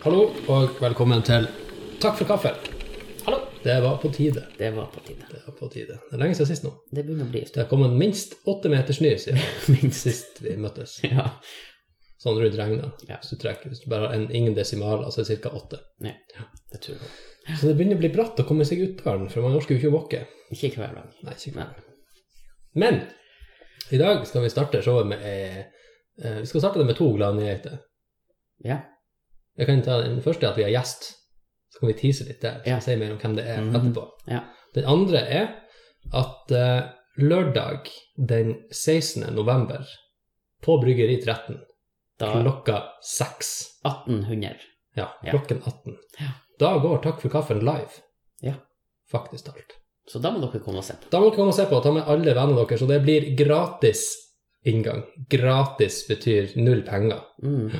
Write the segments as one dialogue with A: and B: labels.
A: Hallå och välkommen till Tack för kaffe.
B: Hallå!
A: Det var på tide.
B: Det var på tiden.
A: Det var på tide. Det är länge sedan sist nu.
B: Det börjar nog bli efter.
A: Det har kommit minst åtta meter snö sedan
B: Minst.
A: sist vi möttes.
B: Ja.
A: Sån runt regnen.
B: Ja.
A: Så du träcker så bara en, ingen decimal, alltså cirka åtta.
B: Nej, det tror jag.
A: Så det börjar bli bratt att komma sig ut på den, för man orkar ju inte åka.
B: Ikke hver dag.
A: Nej,
B: Men
A: säkert. Men! Idag ska vi starta showet med... Eh, eh, vi ska starta det med två glada nyheter.
B: ja,
A: Jag kan ta den första är att vi har gäst. Så kan vi teasa lite där, så
B: Ja.
A: vi säger mer om vem det är
B: Mhm.
A: efterpå.
B: Ja.
A: Den andra är att eh, lördag den 16 november på Bryggeriet Rätten
B: da
A: klockan sex.
B: 1800.
A: Ja,
B: Ja.
A: klockan 18.
B: Ja.
A: Då går Tack för kaffen live.
B: Ja.
A: Faktiskt allt.
B: Så da må dere komme og se på.
A: Da må dere komme og se på og ta med alle vennene deres, så det blir gratis inngang. Gratis betyr null penger.
B: Mm.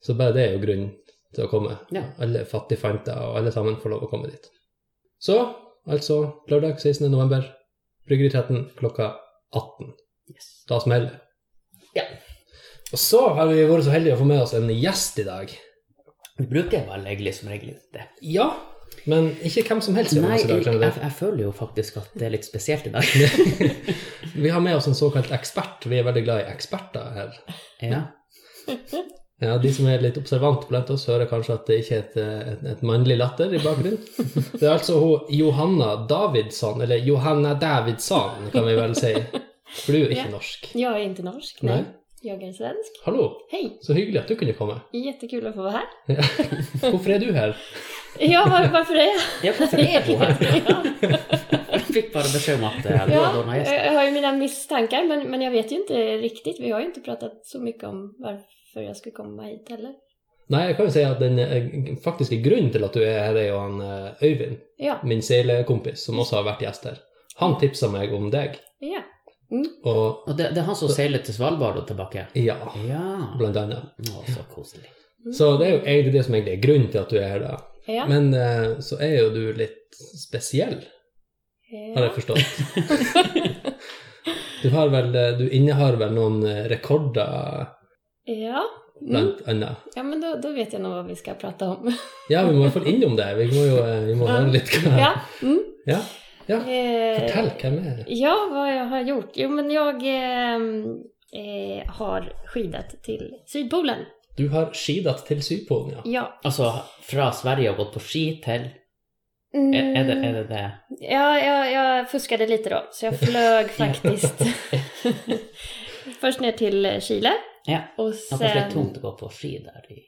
A: Så bare det er jo grunnen til å komme.
B: Ja.
A: Alle fattigfanter og alle sammen får lov å komme dit. Så, altså lørdag 16. november, Bryggeriet klokka 18.
B: Yes.
A: Da smeller det.
B: Ja.
A: Og så har vi vært så heldige å få med oss en gjest i dag.
B: Vi bruker vel egentlig som regel ikke det.
A: Ja, men ikke hvem som helst.
B: Nei,
A: i dag,
B: jeg,
A: skjønner
B: jeg,
A: du.
B: jeg føler jo faktisk at det er litt spesielt i dag.
A: Vi har med oss en såkalt ekspert. Vi er veldig glad i eksperter her.
B: ja.
A: Ja, De som er litt observant blant oss, hører kanskje at det ikke er et, eh, et, et mannlig latter i bakgrunnen. Det er altså hun Johanna Davidsson, eller Johanna Davidsson kan vi vel si. For du er jo ikke
C: Ja.
A: norsk.
C: Jag är inte norsk, nej.
A: Nej.
C: Jag är svensk.
A: Hallo,
C: Hej!
A: så hyggelig at du kunne komme.
C: Jättekul att få vara här.
A: Hvorfor er du her?
C: Ja, var, varför är jag
B: ja, hvorfor er hun her?
C: ja,
B: Jeg fikk bare beskjed om at eh, du hadde
C: ja,
B: ordna gjest.
C: jag jag har ju mina misstankar, men, men jag vet ju inte riktigt. Vi har ju inte pratat så mycket om varför jag skulle komma hit heller.
A: Nei, jeg kan jo si at den eh, faktiske grunnen til at du er her, er jo han eh, Øyvind,
C: Ja,
A: min seilekompis, som også har vært gjest her. Han tipsa meg om deg,
C: ja.
A: og
B: Og det, det er han som seiler til Svalbard og tilbake?
A: ja,
B: Ja.
A: blant annet.
B: Å, så koselig.
A: Så det er jo egentlig det som egentlig er grunnen til at du er her, da.
C: Mm. ja.
A: Men eh, så er jo du litt spesiell. har
C: ja.
A: jag förstått. du, har väl, eh, du innehar väl någon eh, rekorder
C: ja. Mm.
A: bland annat?
C: ja men då, då vet jag nog vad vi ska prata om.
A: Ja, vi må i hvert fall innom det. Vi må jo eh, vi må
C: Ja.
A: høre litt hva
C: Ja. Mm.
A: Ja. Ja.
C: Eh,
A: Fortell, hvem er det?
C: Ja, vad jag har gjort? Jo, men jag ehm, eh, har skidat till Sydpolen.
A: Du har skidat till Sydpolen, ja.
C: Ja,
B: Altså, fra Alltså, Sverige og gått på ski til Er, er, det, er det det?
C: Ja, jag, jag fuskade lite då, så jag flög faktiskt. Först ner till Chile
B: Ja.
C: och
B: Ja, fast det är
C: sen...
B: tungt att gå på ski där i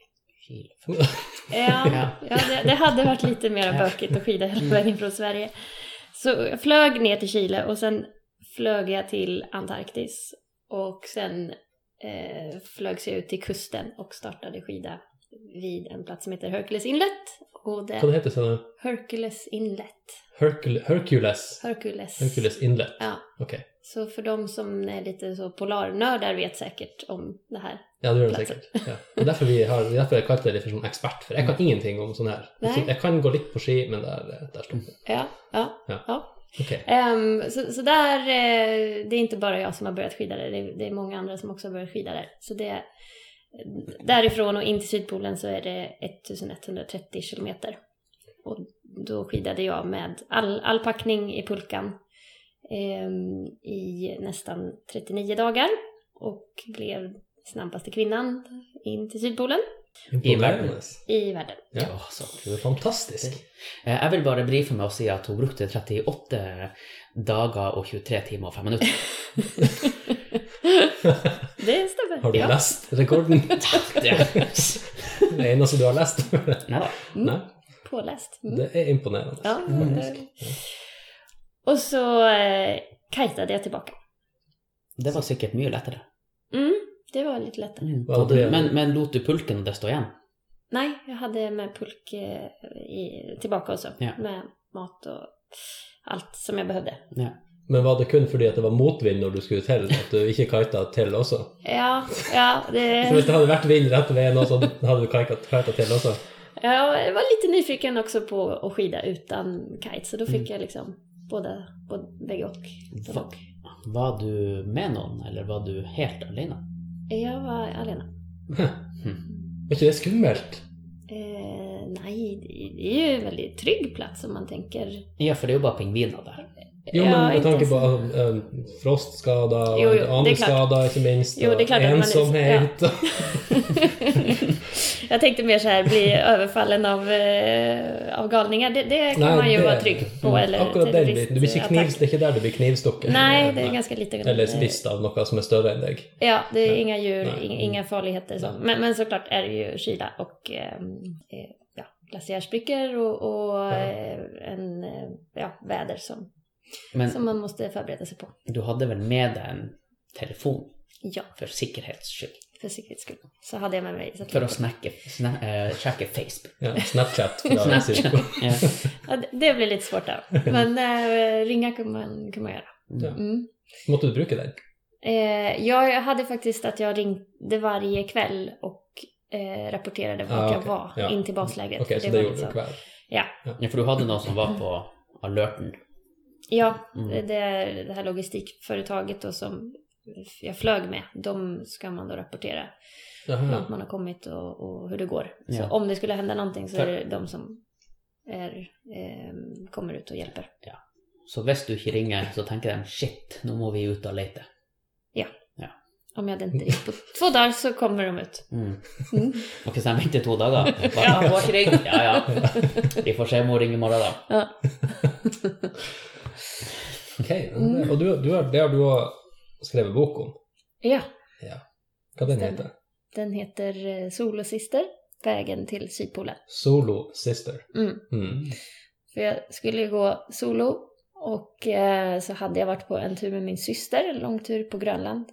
B: Chile.
C: Ja, ja det, det hade varit lite mer
B: Ja.
C: bökigt att skida hela vägen från Sverige. Så jag flög ner till Chile och sen flög jag till Antarktis och sen eh, flögs jag ut till kusten och startade skida vid en plats som heter Hercules Inlet. Och det
A: Hva det heter det?
C: Hercules Inlet.
A: Hercul Hercules?
C: Hercules.
A: Hercules Inlet?
C: Ja.
A: Ok.
C: Så för de som är lite så polarnördar vet säkert om det här.
A: Ja, det gjør det
C: Platser.
A: sikkert. Ja. Det er derfor vi har, det er derfor jeg kalte deg litt for sånn ekspert, for jeg
C: Mm.
A: kan ingenting om sånn her.
C: Nei.
A: Så Jeg kan gå litt på ski, men der, eh, der stopper det.
C: Ja, ja.
A: Ja.
C: ja.
A: Ok.
C: Ehm, så, så där, eh, det är inte bara jag som har börjat skida där, det är, det är många andra som också har börjat skida där. Så det, eh, därifrån och in till Sydpolen så är det 1130 kilometer. Och då skidade jag med all, all packning i pulkan ehm, i nästan 39 dagar och blev snabbaste kvinnan in till Sydpolen
A: Imponerende.
C: i världen.
A: Ja.
B: Ja, så
A: Du er fantastisk.
B: Eh, Jeg vil bare brife med å si at hun brukte 38 dager og 23 timer og 5 minutter.
C: Det stämmer.
A: Har du
C: ja.
A: lest rekorden?
B: Det-
A: Det eneste du har lest?
C: Mm.
B: Neida.
A: Nei,
C: Påläst. Mm.
A: det är imponerande.
C: Ja,
B: Mm.
C: det är det. Och så eh, kajtade jag tillbaka.
B: Det var sikkert mye lettere.
C: Mm, det var lite lättare.
A: Ja, det-
B: Men, men lot du pulken det stå igjen?
C: Nej, jag hade med pulk eh, i, tillbaka också.
B: Ja.
C: Med mat och allt som jag behövde.
A: Men var det kun fordi at det var motvind når du skulle til, at du ikke kajta til også?
C: Ja, ja,
A: For hvis
C: det,
A: det hadde vært vind rett ved nå, så hadde du kajta, kajta til også?
C: ja, jag var lite nyfiken också på att skida utan kite. Så då fick
B: Mm.
C: jag liksom både, både, bägge och. Både och.
B: Var du med noen, eller var du helt alene?
C: Jag var alena.
A: Hm. Var ikke det skummelt?
C: Eh, nej, det är ju en väldigt trygg plats om man tänker.
B: Ja, för det är ju bara pingviner där.
A: Jo, men med
C: inte
A: tanke
C: ens-
A: på um, frostskada och
C: Jo, jo, det är klart.
A: andeskada inte minst.
C: Jo, det är klart
A: och
C: att man är-
A: ensamhet.
C: jag tänkte mer så här, bli överfallen av, eh, av galningar. Det, det kan
A: Nej,
C: man ju
A: det-
C: vara trygg på.
A: Mm,
C: Eller
A: Akkurat den
C: terroristattack.
A: biten. Du blir ikke knivs, det er ikke der du blir knivstukket.
C: Nej, det är ganska lite.
A: Eller rist av noe som er større enn deg.
C: Ja, det är
A: Nej.
C: inga djur,
A: Nej.
C: ing- inga farligheter. Så.
A: Nej.
C: Men, men såklart är det ju kyla och ehm, eh, ja, glaciärsprickor och, och
A: Ja.
C: eh, en, eh, ja, väder som,
B: Men
C: som man måste förbereda sig på.
B: du hade väl med dig en telefon
C: Ja,
B: för säkerhets skull?
C: för säkerhets skull. Så hade jag med mig. Så att-
B: För att snacka, snä, eh, checka Facebook.
A: Ja, Snapchat. fra
B: Snapchat.
A: Cisco.
B: Ja.
C: ja, det- det blir lite svårt då. Men eh, ringa kan man, kan man göra.
A: Ja.
C: Mm.
A: Måtte du bruke den?
C: Eh, jag hade faktiskt att jag ringde varje kväll och eh, rapporterade var
A: Ah,
C: jag
A: okej.
C: var
A: Ja.
C: in till baslägret.
A: Ok,
C: För
A: så
C: var
A: det gjorde
C: liksom-
A: du hver.
B: ja, för du hade någon som var på alerten.
C: Ja,
B: Mm.
C: det, är det här logistikföretaget då som jag flög med, de ska man då rapportera hur
A: Jaha.
C: långt man har kommit och, och hur det går.
B: Ja.
C: Så om det skulle hända någonting så
B: För-
C: är det de som är, ehm, kommer ut och hjälper.
B: Så hvis du inte ringer så tänker de shit, nu måste vi ut och leta.
C: Om jag hade inte ringt på två dagar så kommer de ut.
B: Mm.
C: Mm.
B: Och sen väntar två dagar. Bara, ja, hon har inte ringt. Ja, ja. Vi får se om hon ringer imorgon då.
C: Ja.
A: Ok, Og du, du har, det har du òg skrevet bok om.
C: ja,
A: Hva den
C: Stemmer.
A: heter?
C: den heter eh, Sol och Sister, Vägen till Sydpolen.
A: Solo Sister.
C: Mm.
A: Mm.
C: För jag skulle ju gå solo och eh, så hade jag varit på en tur med min syster, en lång tur på Grönland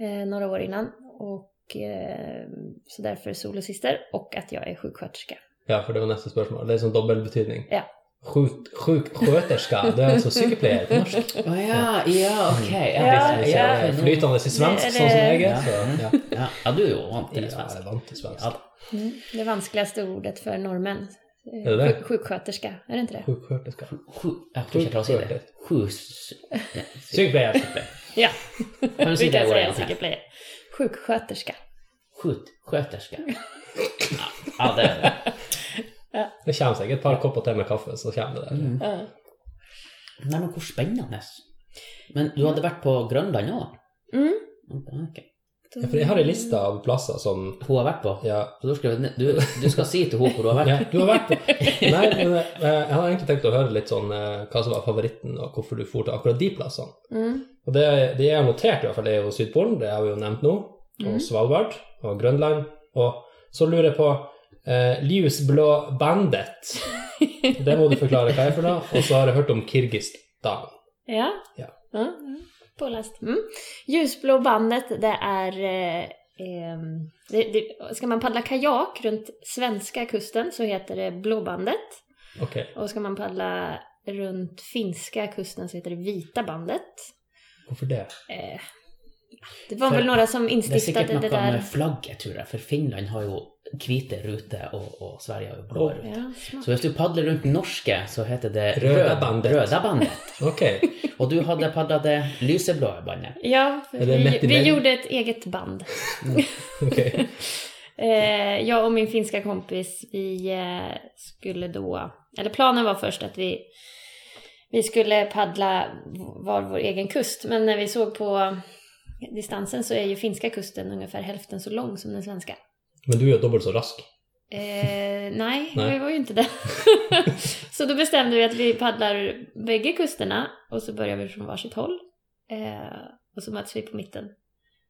C: eh, några år innan. Och eh, så därför är solosyster och att jag är sjuksköterska.
A: Ja, for det var neste spørsmål. Det er sånn dobbeltbetydning.
C: Ja.
A: Sjuk, sjuk skjøterska. Det er altså sykepleier på norsk.
B: Å ja, ja, ok. Mm. Ja,
C: Ja,
B: visst,
A: Hvis
B: visst,
A: jeg
B: ja,
A: er Flytande i svensk,
C: Det er
A: sånn som jeg
B: Ja,
A: er. Så, ja.
B: ja. ja, du är ju vant
A: Ja,
B: till
A: jeg
B: svenska.
A: er vant til svensk.
B: Ja.
C: Det vanskligaste ordet för norrmän. Eh,
A: Är det det?
C: sjuk- Sjuksköterska, är det inte det?
A: Sjuk skjøterska.
B: Sju, jag tror inte jag klarar att säga det. Sju... s- nej,
A: Sykepleier.
C: Ja,
B: Kan du
C: vi
B: säga
C: kan
B: det
C: säga
B: ordet?
C: sykepleier. Sjuksköterska.
B: Skjut, sköterska. Ja, Ja, det är det.
A: Det kommer seg et par kopper til med kaffe, så kommer det der.
B: Mm.
C: Ja.
B: Nej, men hur spännande. Men du hade varit på Grönland också?
C: Mm.
B: Okej.
A: Ja, for jeg har en liste av plasser som
B: Hon har varit på?
A: ja,
B: Så då ska vi, du, du ska säga till hon hur du har
A: ja,
B: varit.
A: Du har vært på Nei, men eh, jeg har egentlig tenkt å høre litt sånn eh, hva som var favoritten, og hvorfor du for til akkurat de plassene.
C: Mm.
A: Og det, det jeg har notert, i hvert fall, det er jo Sydpolen, det har vi jo nevnt nå, og
C: Mm.
A: Svalbard og Grønland. Og så lurer jeg på eh, Ljusblå Bandit. Det må du forklare hva er for noe. Og så har jeg hørt om Kirgistan.
C: Ja.
A: Ja.
C: Ja, Påläst. Mm. Ljusblå bandet, det är... Eh, ehm, det, det, ska man paddla kajak runt svenska kusten så heter det blåbandet.
A: Ok.
C: Och ska man paddla runt finska kusten så heter det vita bandet.
A: Hvorfor det?
C: Eh, det var
B: För
C: väl några som
B: Det är säkert
C: instiftade det
B: något med
C: där.
B: flagget tror jag, för Finland har ju kvita rutor och, och Sverige har ju blå
A: Och-
B: rutor.
C: Ja, smart.
B: Så om du paddlar runt norska så heter det
A: Röda
B: röd-
A: bandet.
B: Röda bandet.
A: Ok.
B: Och du hade paddlat det lyseblåa bandet.
C: ja för
A: Är det
C: vi,
A: lätt i
C: vi
A: Belgien?
C: gjorde ett eget band.
A: ok.
C: Eh, jag och min finska kompis, vi eh, skulle då, eller planen var först att vi, vi skulle paddla var vår egen kust, men när vi såg på distansen så är ju finska kusten ungefär hälften så lång som den svenska.
A: Men du er jo dobbelt så rask.
C: Eh, nej,
A: Nej.
C: vi var ju inte det. så då bestämde vi att vi paddlar bägge kusterna och så börjar vi från varsitt håll. Eh, och så möts vi på mitten.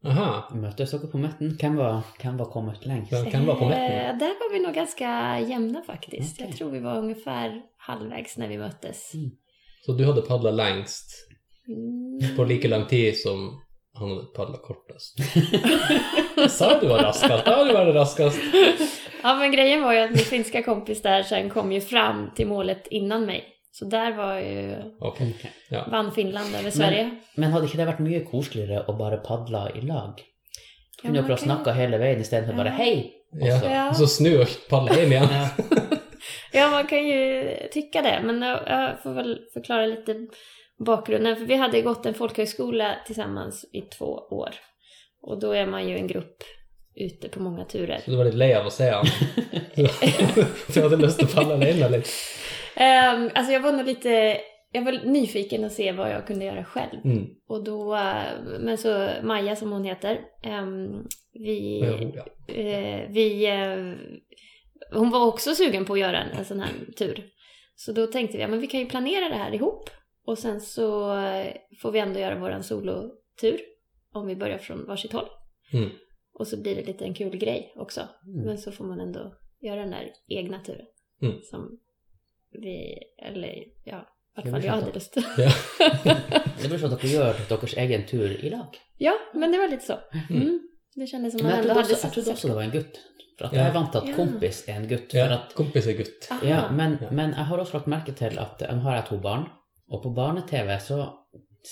A: Aha.
B: Möttes dere på mitten? Vem var, vem var kommit längst?
A: Ja. Kan vara på mitten.
C: Eh, där var vi nog ganska jämna faktiskt.
B: Okej.
C: Jag tror vi var ungefär halvvägs när vi möttes.
A: Så du hadde padla lengst
C: Mm.
A: på like lang tid som han hadde padla kortest. Sa du var raskest? Ja, du var raskest.
C: Ja men grejen var ju att min finska kompis där sen kom ju fram till målet innan mig. Så där var ju,
A: Ok.
B: Okej.
C: vann Finland över Sverige.
B: Men hade inte det varit mycket koseligare att bara paddla i lag? Kunde ja,
C: man
B: prata
C: kan-
B: snacka hela vägen istället för bara
C: Ja.
B: hej! Och
A: Ja.
B: så-
C: Ja.
A: Så snu og padle hjem igjen.
B: Ja.
C: Ja, man kan ju tycka det. Men jag, jag får väl förklara lite bakgrunden. För vi hade gått en folkhögskola tillsammans i två år. Och då är man ju en grupp ute på många turer.
A: Så du var litt lei av å se han. Så du hadde lyst til å falle alene litt.
C: Ehm, alltså jag var nog lite, jag var nyfiken att se vad jag kunde göra själv.
A: Mm.
C: Och då, eh, men så Maja som hon heter, ehm, vi,
A: Ja, ja.
C: eh, vi, eh, hon var också sugen på att göra en, en sån här tur. Så då tänkte vi, ja men vi kan ju planera det här ihop. Och sen så eh, får vi ändå göra våran solotur, om vi börjar från varsitt håll.
A: Mm.
C: Och så blir det lite en kul grej också.
B: Mm.
C: Men så får man ändå göra den där egna turen.
A: Mm.
C: Som vi, eller ja, i alla
B: Jo,
C: fall
B: vi
C: jag
B: fattar.
C: hade lust.
A: Ja.
B: Det blir så att dere gjør deres egen tur i lag.
C: ja, men det var lite så. Mm. Det kändes som
B: Men
C: man
B: jeg
C: ändå
B: trodde
C: hade
B: også, jeg trodde også det var en gutt. For at
A: Ja.
B: jeg er vant til
C: Ja.
B: at kompis er en gutt.
A: Ja,
B: For at,
A: kompis er gutt.
C: Aha.
B: ja, men,
A: Ja.
B: men jeg har også lagt merke til at jeg eh, har jeg to barn, og på barne-TV så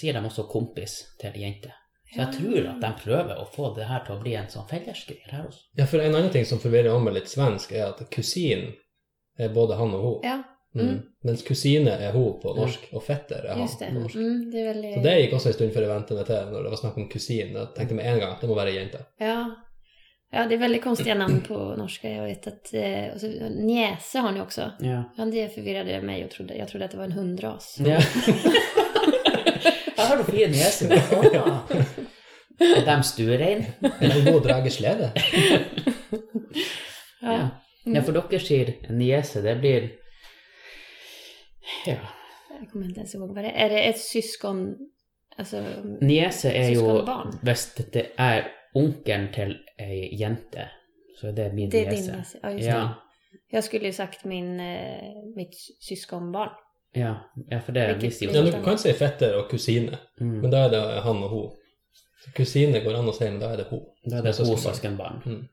B: sier de også 'kompis' til jenter. Så jeg tror at de prøver å få det her til å bli en sånn fellesgreie her også.
A: Ja, for en annen ting som forvirrer om med litt svensk, er at kusin er både han och hon.
C: Ja,
A: Mm.
C: Mm.
A: Mens kusine er hon på norsk, och fetter är han
C: just det.
A: på norsk.
C: Mm, det är väldigt...
A: Så det gikk også en stund før jeg ventet meg til, når det var snakk om kusin. Jeg tenkte med en gang, det må være jente.
C: Ja. ja, det är väldigt konstiga namn på norska. Jag vet att... eh, Och så, Njäse har ni också.
B: Ja.
C: Ja, det förvirrade mig och trodde, jag trodde att det var en hundras.
B: Ja. Her har du frie nieser. Ah. Er de stuerein?
A: Eller hun må dra slede.
B: Ja. ja, for dere sier niese, det blir Ja.
C: Jag kommer inte ens ihåg vad det är. Är det ett syskon... Alltså...
B: Niese er jo
C: Syskonbarn.
B: Hvis det er onkelen til ei jente, så er det min
C: Det är din
B: niese.
C: näsa. Ja, just
B: Ja,
C: det. Jag skulle ju sagt min, eh, mitt syskonbarn.
B: ja, ja, for det
C: Hvilket
B: visste jo
A: Ja, du kan si fetter og kusine,
B: Mm.
A: men da er det han og hun. Så kusine går an å si, men da er det hun.
B: Da er det
A: som
B: to
A: er søskenbarn.
B: søskenbarn.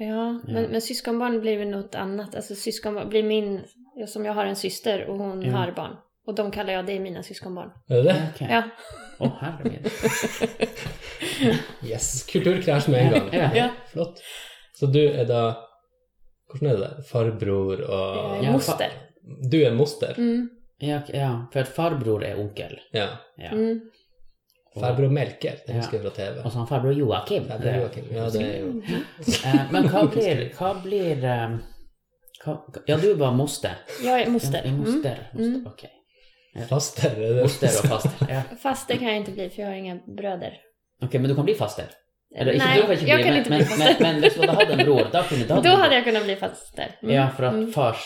C: Ja, Men, men syskonbarn blir väl något annat. Alltså syskonbarn blir min... Som jag har en syster och hon
B: Ja.
C: har barn. Och de kallar jag, det är mina syskonbarn.
A: Er det det?
B: Ok. Å,
C: Ja.
B: herre min.
A: Yes. Kulturkrasj med en gang.
B: Ja.
C: Ja.
A: Flott. Så du er da Hvordan er det der? Farbror og
C: Eh,
B: Ja,
C: moster.
A: Du er moster?
C: Mm,
B: Ja, ok, ja, for at farbror er onkel.
A: Ja.
B: Ja.
C: mm.
A: Farbror Melker, det husker jeg fra
B: Og
A: TV.
B: så har han farbror Joakim.
A: Farbror Joakim. Ja, det er jo
B: Eh, Men hva blir, hva blir eh, hva, Ja, du var moster.
C: Jag är
B: Ja,
C: moster.
B: moster.
C: Mm.
B: moster. Ok.
A: faster. er det?
B: Moster och faster. Ja.
C: Faster Mm. kan jag inte bli för jag har inga bröder.
B: Ok, men du kan bli faster. Eller, ikke,
C: Nej,
B: du kan ikke bli,
C: jag kan
B: men,
C: inte
B: men,
C: bli
B: men,
C: faster.
B: men hvis du hadde hatt en bror, da kunne du hatt
C: Då
B: en
C: hade
B: bror.
C: jag kunnat bli faster. Mm.
B: Ja, for at
C: Mm.
B: fars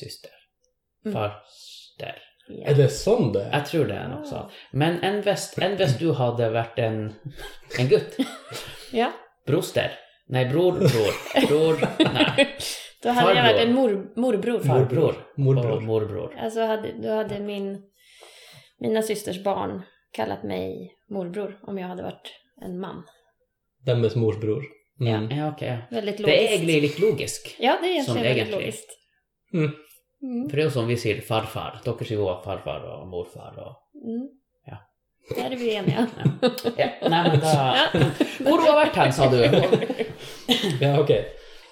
B: syster.
C: Mm.
B: Farster.
A: Er det sånn det er?
B: Jeg tror det er noe sånt. Men enn hvis enn hvis du hadde vært en, en gutt?
C: ja.
B: Broster. Nei, bror, bror. Bror, nei.
C: Då hade jag varit
B: Farbror.
C: en mor, morbror.
B: Farbror
A: Morbror.
B: og morbror.
C: Alltså hade, då hade min, mina systers barn kallat mig morbror om jag hade varit en man.
A: Deres mors bror. Mm.
B: Ja, ok. Ja.
C: Väldigt
B: Det
C: logiskt.
B: er egentlig litt logisk.
C: Ja, det är
B: som
C: egentligen väldigt
B: egentligen.
C: logiskt.
A: Mm.
C: Mm.
B: For det er jo som vi sier farfar. Dere sier jo farfar og morfar og
C: Mm.
B: Ja.
C: Där är vi eniga.
B: ja. Nei, men da
C: Ja.
B: Hvor har du vært hen, sa du?
A: Ja, ok.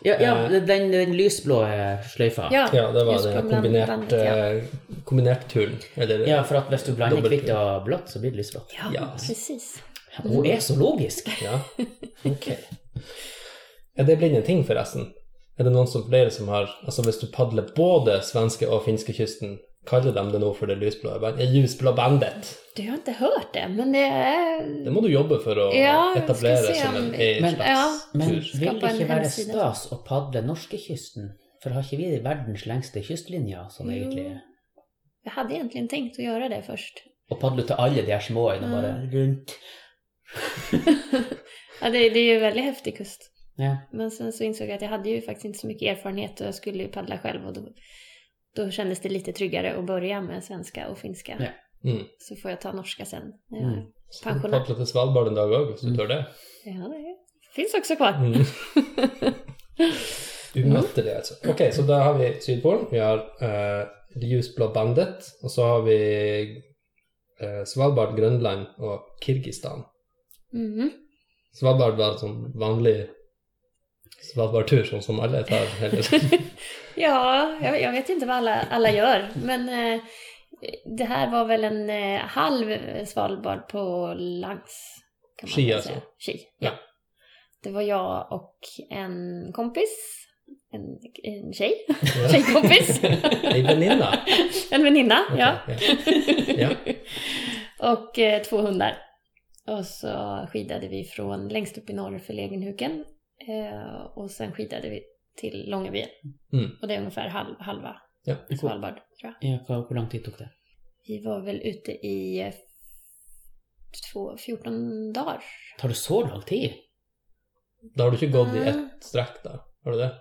B: Ja, ja den, den lysblå eh, sløyfa.
C: Ja,
A: Ja, det var
C: just
A: den
C: på
A: her
C: bland-
A: kombinert,
C: bandet, ja.
A: eh, kombinert turen. Eller,
B: Ja, for at hvis du blander
A: Dobbelt.
B: kvitt og blått, så blir det lysblått.
C: Ja,
A: Ja.
C: precis.
B: Hun er så logisk!
A: Ja, ok. Er det blitt en ting, forresten? Er det noen som flere som har Altså, hvis du padler både svenske og finske kysten, kaller de det nå for det lysblå band- eh, ljusblå bandet?
C: Du har inte hört det, men det är...
A: Det må du jobbe for å
C: Ja, jeg skal
A: etablere
C: se
A: som
C: om-
A: en egen
B: Men-
A: slags
B: Men
A: tur.
B: vil det
C: en
B: ikke være
C: hemside.
B: stas å padle norskekysten? For har ikke vi verdens lengste kystlinjer, sånn
C: Jo.
B: egentlig?
C: Jag hade egentligen tänkt att göra det först.
B: Å padle til alle de her små øyene, bare rundt.
C: Ja, det, det är ju en väldigt häftig kust.
B: Ja.
C: Men sen så insåg jag att jag hade ju faktiskt inte så mycket erfarenhet och jag skulle ju paddla själv och då, då kändes det lite tryggare att börja med svenska och finska.
B: Ja.
A: Mm.
C: Så får jag ta norska sen. Ja,
B: Mm.
A: Så du
C: Pensjonat.
A: padler til Svalbard en dag òg, hvis du
B: Mm.
A: tør det.
C: ja det finns också kvar.
A: Mm. Du møtte det, altså. Ok, så da har vi Sydpolen, vi har eh, Ljusblå Bandet, og så har vi eh, Svalbard, Grønland og Kirgistan.
C: Mhm.
A: Svalbard var en sånn vanlig Svalbardtur, sånn som alle tar. Eller.
C: Ja, jag, jag vet inte vad alla, alla gör, men eh, det här var väl en eh, halv Svalbard på langs. Kan man
A: Ski
C: väl
A: alltså.
C: säga. Ski, ja.
A: Ja.
C: Det var jag och en kompis, en, en tjej, tjejkompis,
A: Ei väninna.
C: en väninna, ja.
A: Ja.
C: och eh, två hundar. Och så skidade vi från längst upp i norr för Legenhuken eh, och sen skidade vi till Långebyen.
A: Mm.
C: Och det är ungefär halv, halva
A: Ja.
C: Svalbard, tror jag.
B: Ja, hur- hur lång tid tog det?
C: Vi var väl ute i eh, två, 14 dagar.
B: Tar det så lång tid?
A: Da har du ikke
C: Ah.
A: gått i ett strekk, da? Har du det?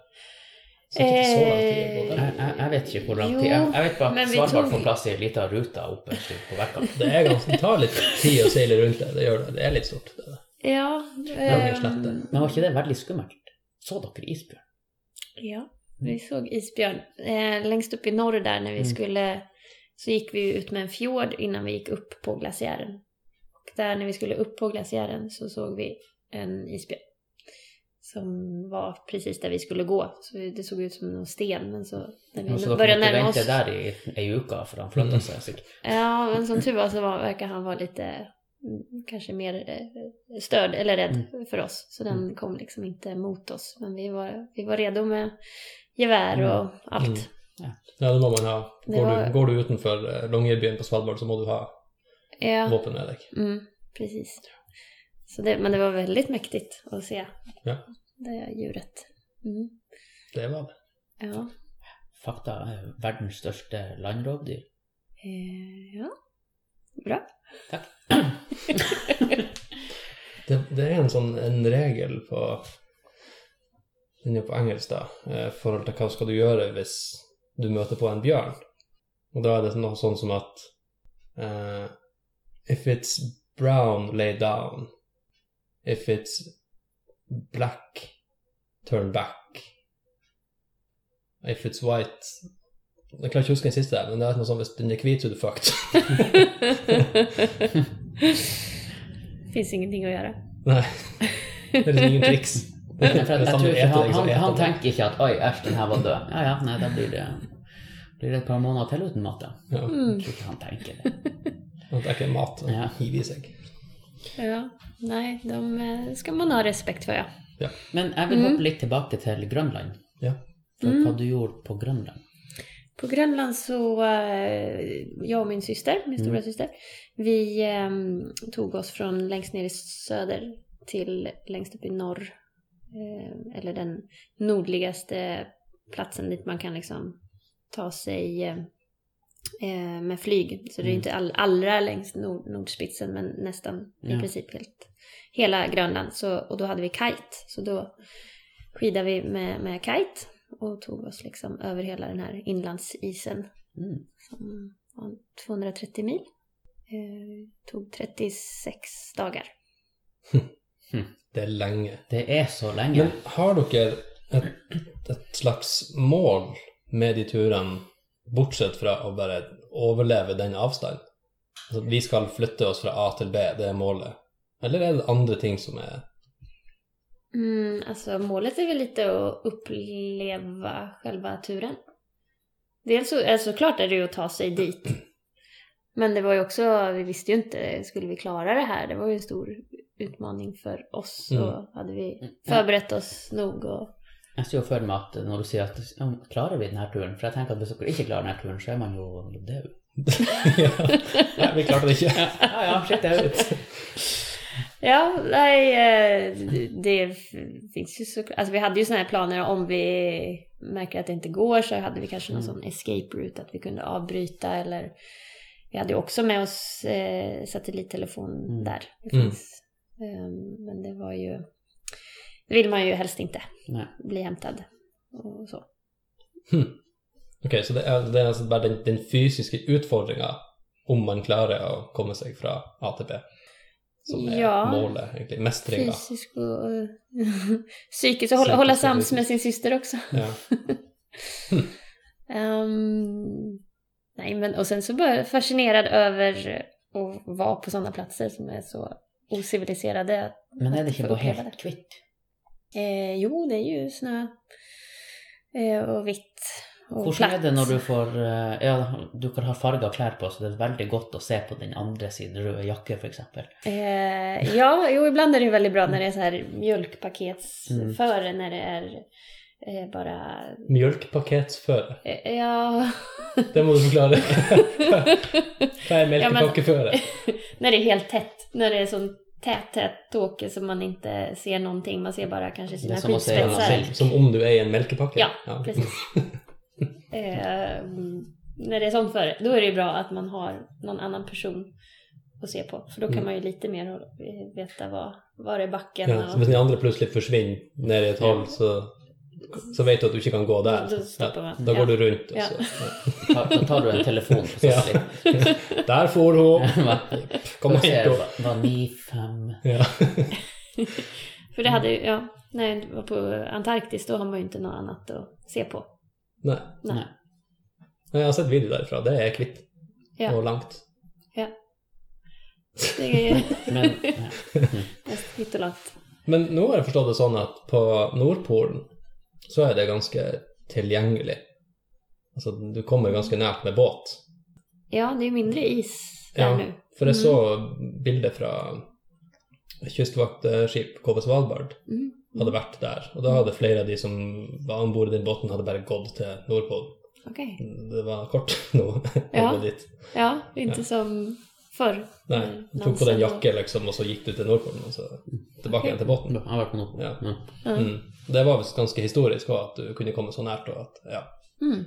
A: Så det er ikke så lang tid å gå
C: Eh.
B: Jeg, jeg, jeg
A: der.
B: vet ikke hvor lang
C: Jo,
B: tid. Jeg, jeg vet bare
C: men
B: at
C: vi
B: Svalbard
C: tog-
B: får plass i en liten rute opp en stund på verkan.
A: Det, er ganske, det tar litt tid å seile rundt det. Det gjør det. Det er litt stort. Det.
C: Ja.
A: Långa
C: ehm,
A: slätter.
B: Men var ikke det veldig skummelt? Så dere isbjørn?
C: Ja, vi såg isbjörn. Eh, längst upp i norr där när vi
B: Mm.
C: skulle så gick vi ju ut med en fjord innan vi gick upp på glaciären. Och där när vi skulle upp på glaciären så såg vi en isbjörn. Som var precis där vi skulle gå. Så det såg ut som någon sten men så när vi
B: Ja, så dere
C: började
B: måtte
C: närma
B: vente
C: oss.
B: der i ei uke for han flytta
A: Mm.
B: seg sikkert.
C: Ja, men som tur var så var, verkar han vara lite mm, kanske mer eh, störd eller rädd för oss. Så den kom liksom inte mot oss. Men vi var, vi var redo med gevär och allt.
A: Mm. Ja, det må man ha.
C: Det
A: Går
C: var-
A: du, går du utenfor eh, Longyearbyen på Svalbard, så må du ha
C: Ja.
A: våpen med deg.
C: Mm, precis. Så det, men det var väldigt mäktigt att se
A: Ja.
C: det djuret. Mm,
A: Det var det.
C: ja.
B: Fakta er verdens største landrovdyr.
C: Eh, ja. Bra.
A: Det, det er en sånn en regel på Den er på engelsk, da. eh, forhold til hva skal du gjøre hvis du møter på en bjørn. Og da er det noe sånn som at eh, If it's brown, lay down. If it's black, turn back. If it's white Jeg klarer ikke å huske den siste, men det er noe sånn hvis den er hvit, så er du fucked.
C: Finns ingenting att göra.
A: Nei. Det er liksom ingen triks.
B: Men for at,
A: Hvis
B: jeg tror
A: vil ete
B: ikke, han,
A: deg, så
B: han,
A: eter
B: han
A: deg.
B: tenker ikke at 'oi, æsj, den her var død'. Ja ja, nei, da blir det, blir det et par måneder til uten mat, da.
A: Ja.
B: Jeg tror ikke han tenker det.
A: Han tenker mat og
B: Mm. Ja.
A: hiver i seg.
C: Ja, nej, de eh, ska man ha respekt för ja.
B: Men jeg
A: Mm.
B: vil hoppe litt tilbake til Grønland.
A: Ja.
B: For
A: Mm.
B: hva du gjorde på Grønland.
C: På Grönland så, eh, jag och min syster, min stora syster, vi eh, tog oss från längst ner i söder till längst upp i norr. Eh, eller den nordligaste platsen dit man kan liksom ta sig eh, eh, med flyg. Så det är
B: Mm.
C: inte all, allra längst nord, nordspitsen men nästan
B: Ja.
C: i princip helt, hela Grönland. Så, och då hade vi kite, så då skidade vi med, med kite och tog oss liksom över hela den här inlandsisen
B: Mm.
C: som var 230 mil. Eh, tog 36 dagar.
A: Det er lenge.
B: Det er så lenge.
A: Men har dere et, et slags mål med de turene, bortsett fra å bare overleve den avstanden? Altså, vi skal flytte oss fra A til B, det er målet. Eller er det andre ting som er
C: Mm, alltså målet är väl lite att uppleva själva turen. Dels så, alltså, såklart är det ju att ta sig dit. Men det var ju också, vi visste ju inte, skulle vi klara det här? Det var ju en stor utmaning för oss.
A: Mm.
C: Och hade vi förberett oss nog och...
B: Jeg ser jo for meg at når du sier at ja, men klarer vi denne turen For jeg tenker at hvis dere ikke klarer denne turen, så er man jo død.
A: ja. Nei, vi klarte det ikke.
B: Ja, ja, ja shit, det er jo
C: Ja, nej, eh, det- det finns ju så... Alltså vi hade ju sådana här planer om vi märker att det inte går så hade vi kanske någon
B: Mm.
C: sån escape route att vi kunde avbryta eller... Vi hade ju också med oss eh, satellittelefon
B: Mm.
C: där. Det
A: Mm.
C: finns. Ehm, men det var ju... Det vill man ju helst inte
B: Nei.
C: bli hämtad och så.
A: Ok, så det er, det er altså bare den, den fysiske utfordringa om man klarer å komme seg fra A til B, som er
C: Ja.
A: målet, egentlig. Mestringa.
C: Fysisk och och psykiskt. Och hålla, hålla
A: Psykiskt och
C: sams
A: fysiskt.
C: med sin syster också.
A: Ja.
C: Ehm, nej, men och sen så bara fascinerad över att vara på sådana platser som är så ociviliserade.
B: Men er det ikke
C: Får
B: bare
C: oppleve
B: helt
C: det.
B: kvitt?
C: Eh, jo, det är ju snö eh, och vitt og
B: Hvordan er det når du får eh, ja, du kan ha farga klær på, så det er veldig godt å se på den andre sin røde jakke, f.eks.
C: Eh, ja, jo, ibland är det ju väldigt bra när det är så här mjölkpaketsförare
B: Mm.
C: när det är eh, bara...
A: Mjölkpaketsføre.
C: Eh, ja...
A: Det må du forklare. Hva er melkepakkefører?
C: när det är helt tätt, när det är sån tät, tät tåke som man inte ser någonting, man ser bara kanske
B: Det
C: sina
B: är som att säga
A: Ja,
C: skidspetsar.
A: som, som om du er i en melkepakke?
C: Ja, precis. Eh, mm, när det är sånt före, då är det ju bra att man har någon annan person att se på, för då kan
A: Mm.
C: man ju lite mer eh, veta vad, var är backen
A: Ja, så
C: och
A: hvis den andre plutselig forsvinner ned i et hull, så, så vet du at du ikke kan gå der.
C: då stoppar man.
A: Da går
C: ja.
A: du rundt, og
C: Ja.
A: så
B: Ta, da tar du en telefon på
A: Ja.
B: Sassi.
A: Der får hun! Kom
B: Hva
A: og hent
B: ser
A: henne!
B: du? Var ni fem
A: Ja.
C: För det hade ju,
A: Mm.
C: ja, när jag var på Antarktis, då har man ju inte något annat att se på.
A: Nei.
C: Nej.
B: Nei.
A: Men Jeg har sett video derfra. Det er kvitt
C: Ja.
A: og langt.
C: Det är
B: Men ja.
C: mest hit och långt.
A: Men nå har jeg forstått det sånn at på Nordpolen så er det ganske tilgjengelig. Altså, du kommer ganske nært med båt.
C: Ja, det är ju mindre is där nu. Mm.
A: For jeg så bilder fra kystvaktskip KV Svalbard
C: Mm.
A: hadde vært der. Og da hadde flere av de som var om bord i den båten, hadde bare gått til Nordpolen.
C: Okej.
A: Det var kort nå.
C: Ja.
A: å gå dit.
C: Ja, inte som förr.
A: Nei,
C: Mm,
A: du tok på
C: Nansen
A: deg en
C: og-
A: jakke, liksom, og så gikk du til Nordpolen, og så tilbake igjen til båten.
B: Han var på noe.
A: Ja.
B: Ja.
C: Ja.
A: Mm. Det var visst ganske historisk også, at du kunne komme så nært. og at, ja.
C: Mm.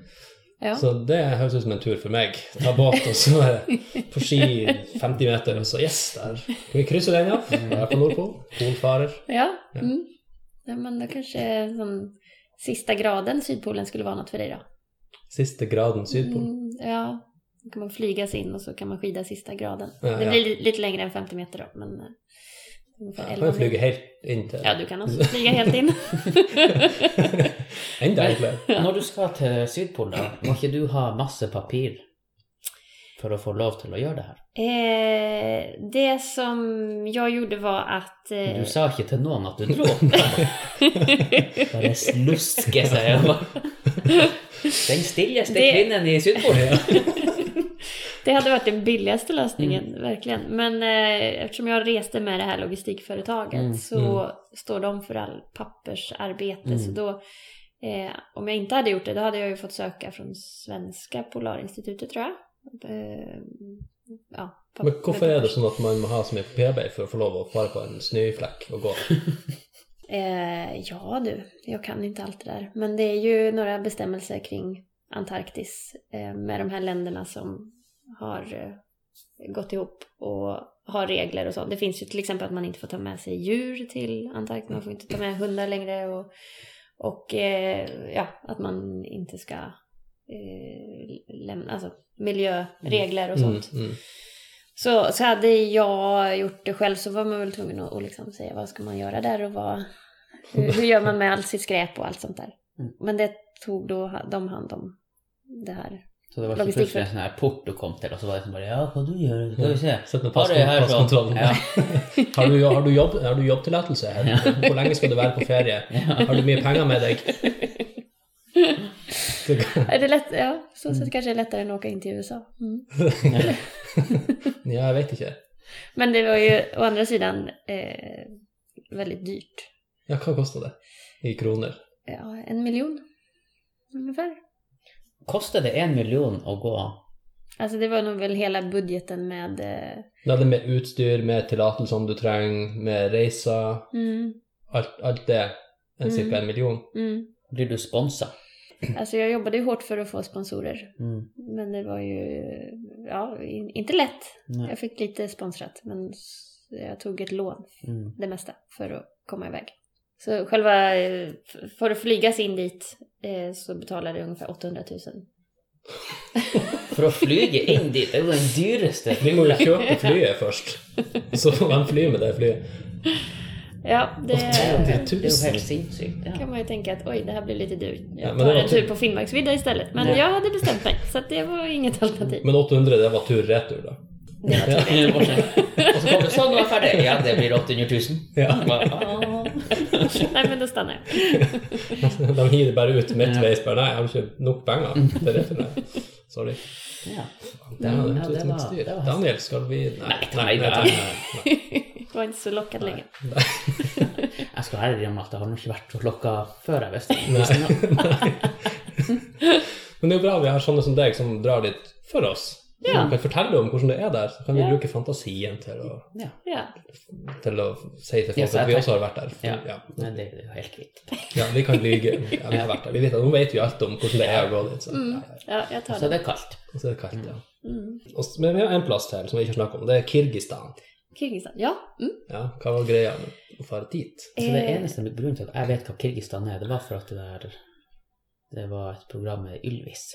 C: Ja.
A: Så det høres ut som en tur for meg. Ta båt, og så eh, på ski 50 meter, og så yes, der. Kan vi krysse den, ja? Her på Nordpolen. Polfarer.
C: Ja.
A: Ja.
C: Mm. ja, men då kanske som sista graden Sydpolen skulle vara något för dig då?
A: Siste graden Sydpolen.
C: Mm, ja, då kan man flyga sig in och så kan man skida sista graden.
A: Ja,
C: Det
A: ja.
C: blir li- lite längre än 50 meter då, men eh, ungefär
A: Kan
C: 11
A: jeg flyge
C: mil.
A: helt inn til
C: Ja, du kan också flyga helt in.
A: Enda enklere.
B: Når du skal til Sydpolen, da, må ikke du ha masse papir for å få lov til å gjøre det her?
C: Eh, det som jag gjorde var att... eh,
B: Du sa ikke til noen at du dro. Bare sluske seg. jeg bare. Den stilleste
C: Det-
B: kvinnen i Sydpolen.
C: Det hade varit den billigaste lösningen,
B: Mm.
C: verkligen. Men eh, eftersom jag reste med det här logistikföretaget
B: Mm,
C: så står de för all pappersarbete.
B: Mm.
C: Så då, eh, om jag inte hade gjort det, då hade jag ju fått söka från svenska Polarinstitutet tror jag. Eh, ja, papp-
A: Men hvorfor er det sånn at man må ha så mye papirarbeid for å få lov å fare på en snøflekk og gå?
C: Eh, ja du, jag kan inte allt det där. Men det är ju några bestämmelser kring Antarktis eh, med de här länderna som har eh, gått ihop och har regler och sånt. Det finns ju till exempel att man inte får ta med sig djur till Antarktis, man får inte ta med hundar längre och, och eh, ja, att man inte ska eh, lämna, alltså miljöregler och sånt.
A: Mm, mm.
C: Så, så hade jag gjort det själv så var man väl tvungen att, att liksom säga vad ska man göra där och vad, hur, hur gör man med allt sitt skräp och allt sånt där.
B: Mm.
C: Men det tog då ha- de hand om det här.
B: Så det var ikke
C: Logistikk.
B: plutselig en sånn her port du kom til, og så var det sånn bare Ja, hva du gjør du? Skal vi se.
A: Sett med
B: Ha det her sånn.
A: passkontrollen.
B: Ja.
A: Har du, har du, jobb, har du jobbtillatelse? her? Hvor lenge skal du være på ferie? Har du mye penger med deg? Det kan-
C: Är det lätt, ja, så, så det kanske är lättare än att åka in till USA. Mm.
A: Ja, jeg vet ikke.
C: Men det var ju å andra sidan eh, väldigt dyrt.
A: Ja, hva koster det i kroner?
C: Ja, en miljon ungefär.
B: Koster det en million å gå?
C: Alltså det var nog väl hela budgeten med... Eh,
A: Det er det med utstyr, med tillatelsene du trenger, med reiser,
C: mm,
A: alt, alt det. En cirka en million.
C: mm.
B: Blir du sponsa?
C: Alltså jag jobbade ju hårt för att få sponsorer.
B: Mm.
C: Men det var ju ja, in- inte lätt.
B: Nei.
C: Jag fick lite sponsrat, men s- jag tog ett lån,
B: Mm.
C: det mesta, för att komma iväg. Så själva, eh, f- för att flygas in dit eh, så betalade jag ungefär 800 000.
B: For å flyge inn dit, det er jo den dyreste
A: Vi må jo
B: flyplassen.
A: kjøpe flyet først, så hvem flyr med det flyet?
C: Ja, det
B: Det
A: 80
B: er jo helt sinnssykt. Ja.
C: kan man ju tänka att oj, det här blir lite dyrt.
A: Ja,
C: Jag
A: men
C: tar
A: det var
C: en
A: tur.
C: tur på Finnmarksvidda istället. Men
B: Ja.
C: jag hade bestämt mig, så att det var inget alternativ.
A: Men 800, det var tur-retur, da.
C: Det var tur.
B: Og så kommer det sånn, nå er jeg ferdig. Ja, det blir 800 000.
A: Ja.
B: Bare, ah.
C: Nej, men då stannar jag.
A: De hiver bare ut midtveis.
B: Ja.
A: Bare, Nei, jeg har ikke nok penger til returen. Sorry.
B: Ja.
A: Det
B: Ja,
A: var,
B: det var- det var häftigt.
A: Daniel, skal vi
B: Nej, nej,
A: nei, nei,
B: nej.
A: nei.
C: Var inte så lockad längre.
B: Jeg skal være ærlig om at det har nok ikke vært så klokka før jeg visste det.
A: Men det er jo bra vi har sånne som deg som drar dit for oss.
C: Ja.
A: Som kan fortelle om hvordan det er der, så kan vi
C: Ja.
A: bruke fantasien til å,
B: Ja.
C: Ja.
A: til å si til folk
B: Ja, så jeg
A: at vi
B: tenker-
A: også har vært der.
B: Ja.
A: Ja.
B: Men det er jo helt kvitt.
A: Ja, vi kan lyge. Ja, vi har vært der. Vi vet, nå vet vi alt om hvordan det er å gå dit. Så.
C: Mm.
A: Ja, ja.
C: ja, jeg tar
B: Så
C: det.
B: det er kaldt.
A: Og så er det kaldt, ja.
C: Mm.
A: Og, s- men vi har en plass til som vi ikke har snakket om. Det er Kirgistan.
C: Kirgistan, ja. Mm.
A: Ja, hva var greia med å fare dit?
B: Så Alltså, det
C: Eh,
B: eneste grunnen til at jeg vet hva Kirgistan er, det var for at det der det var et program med Ylvis.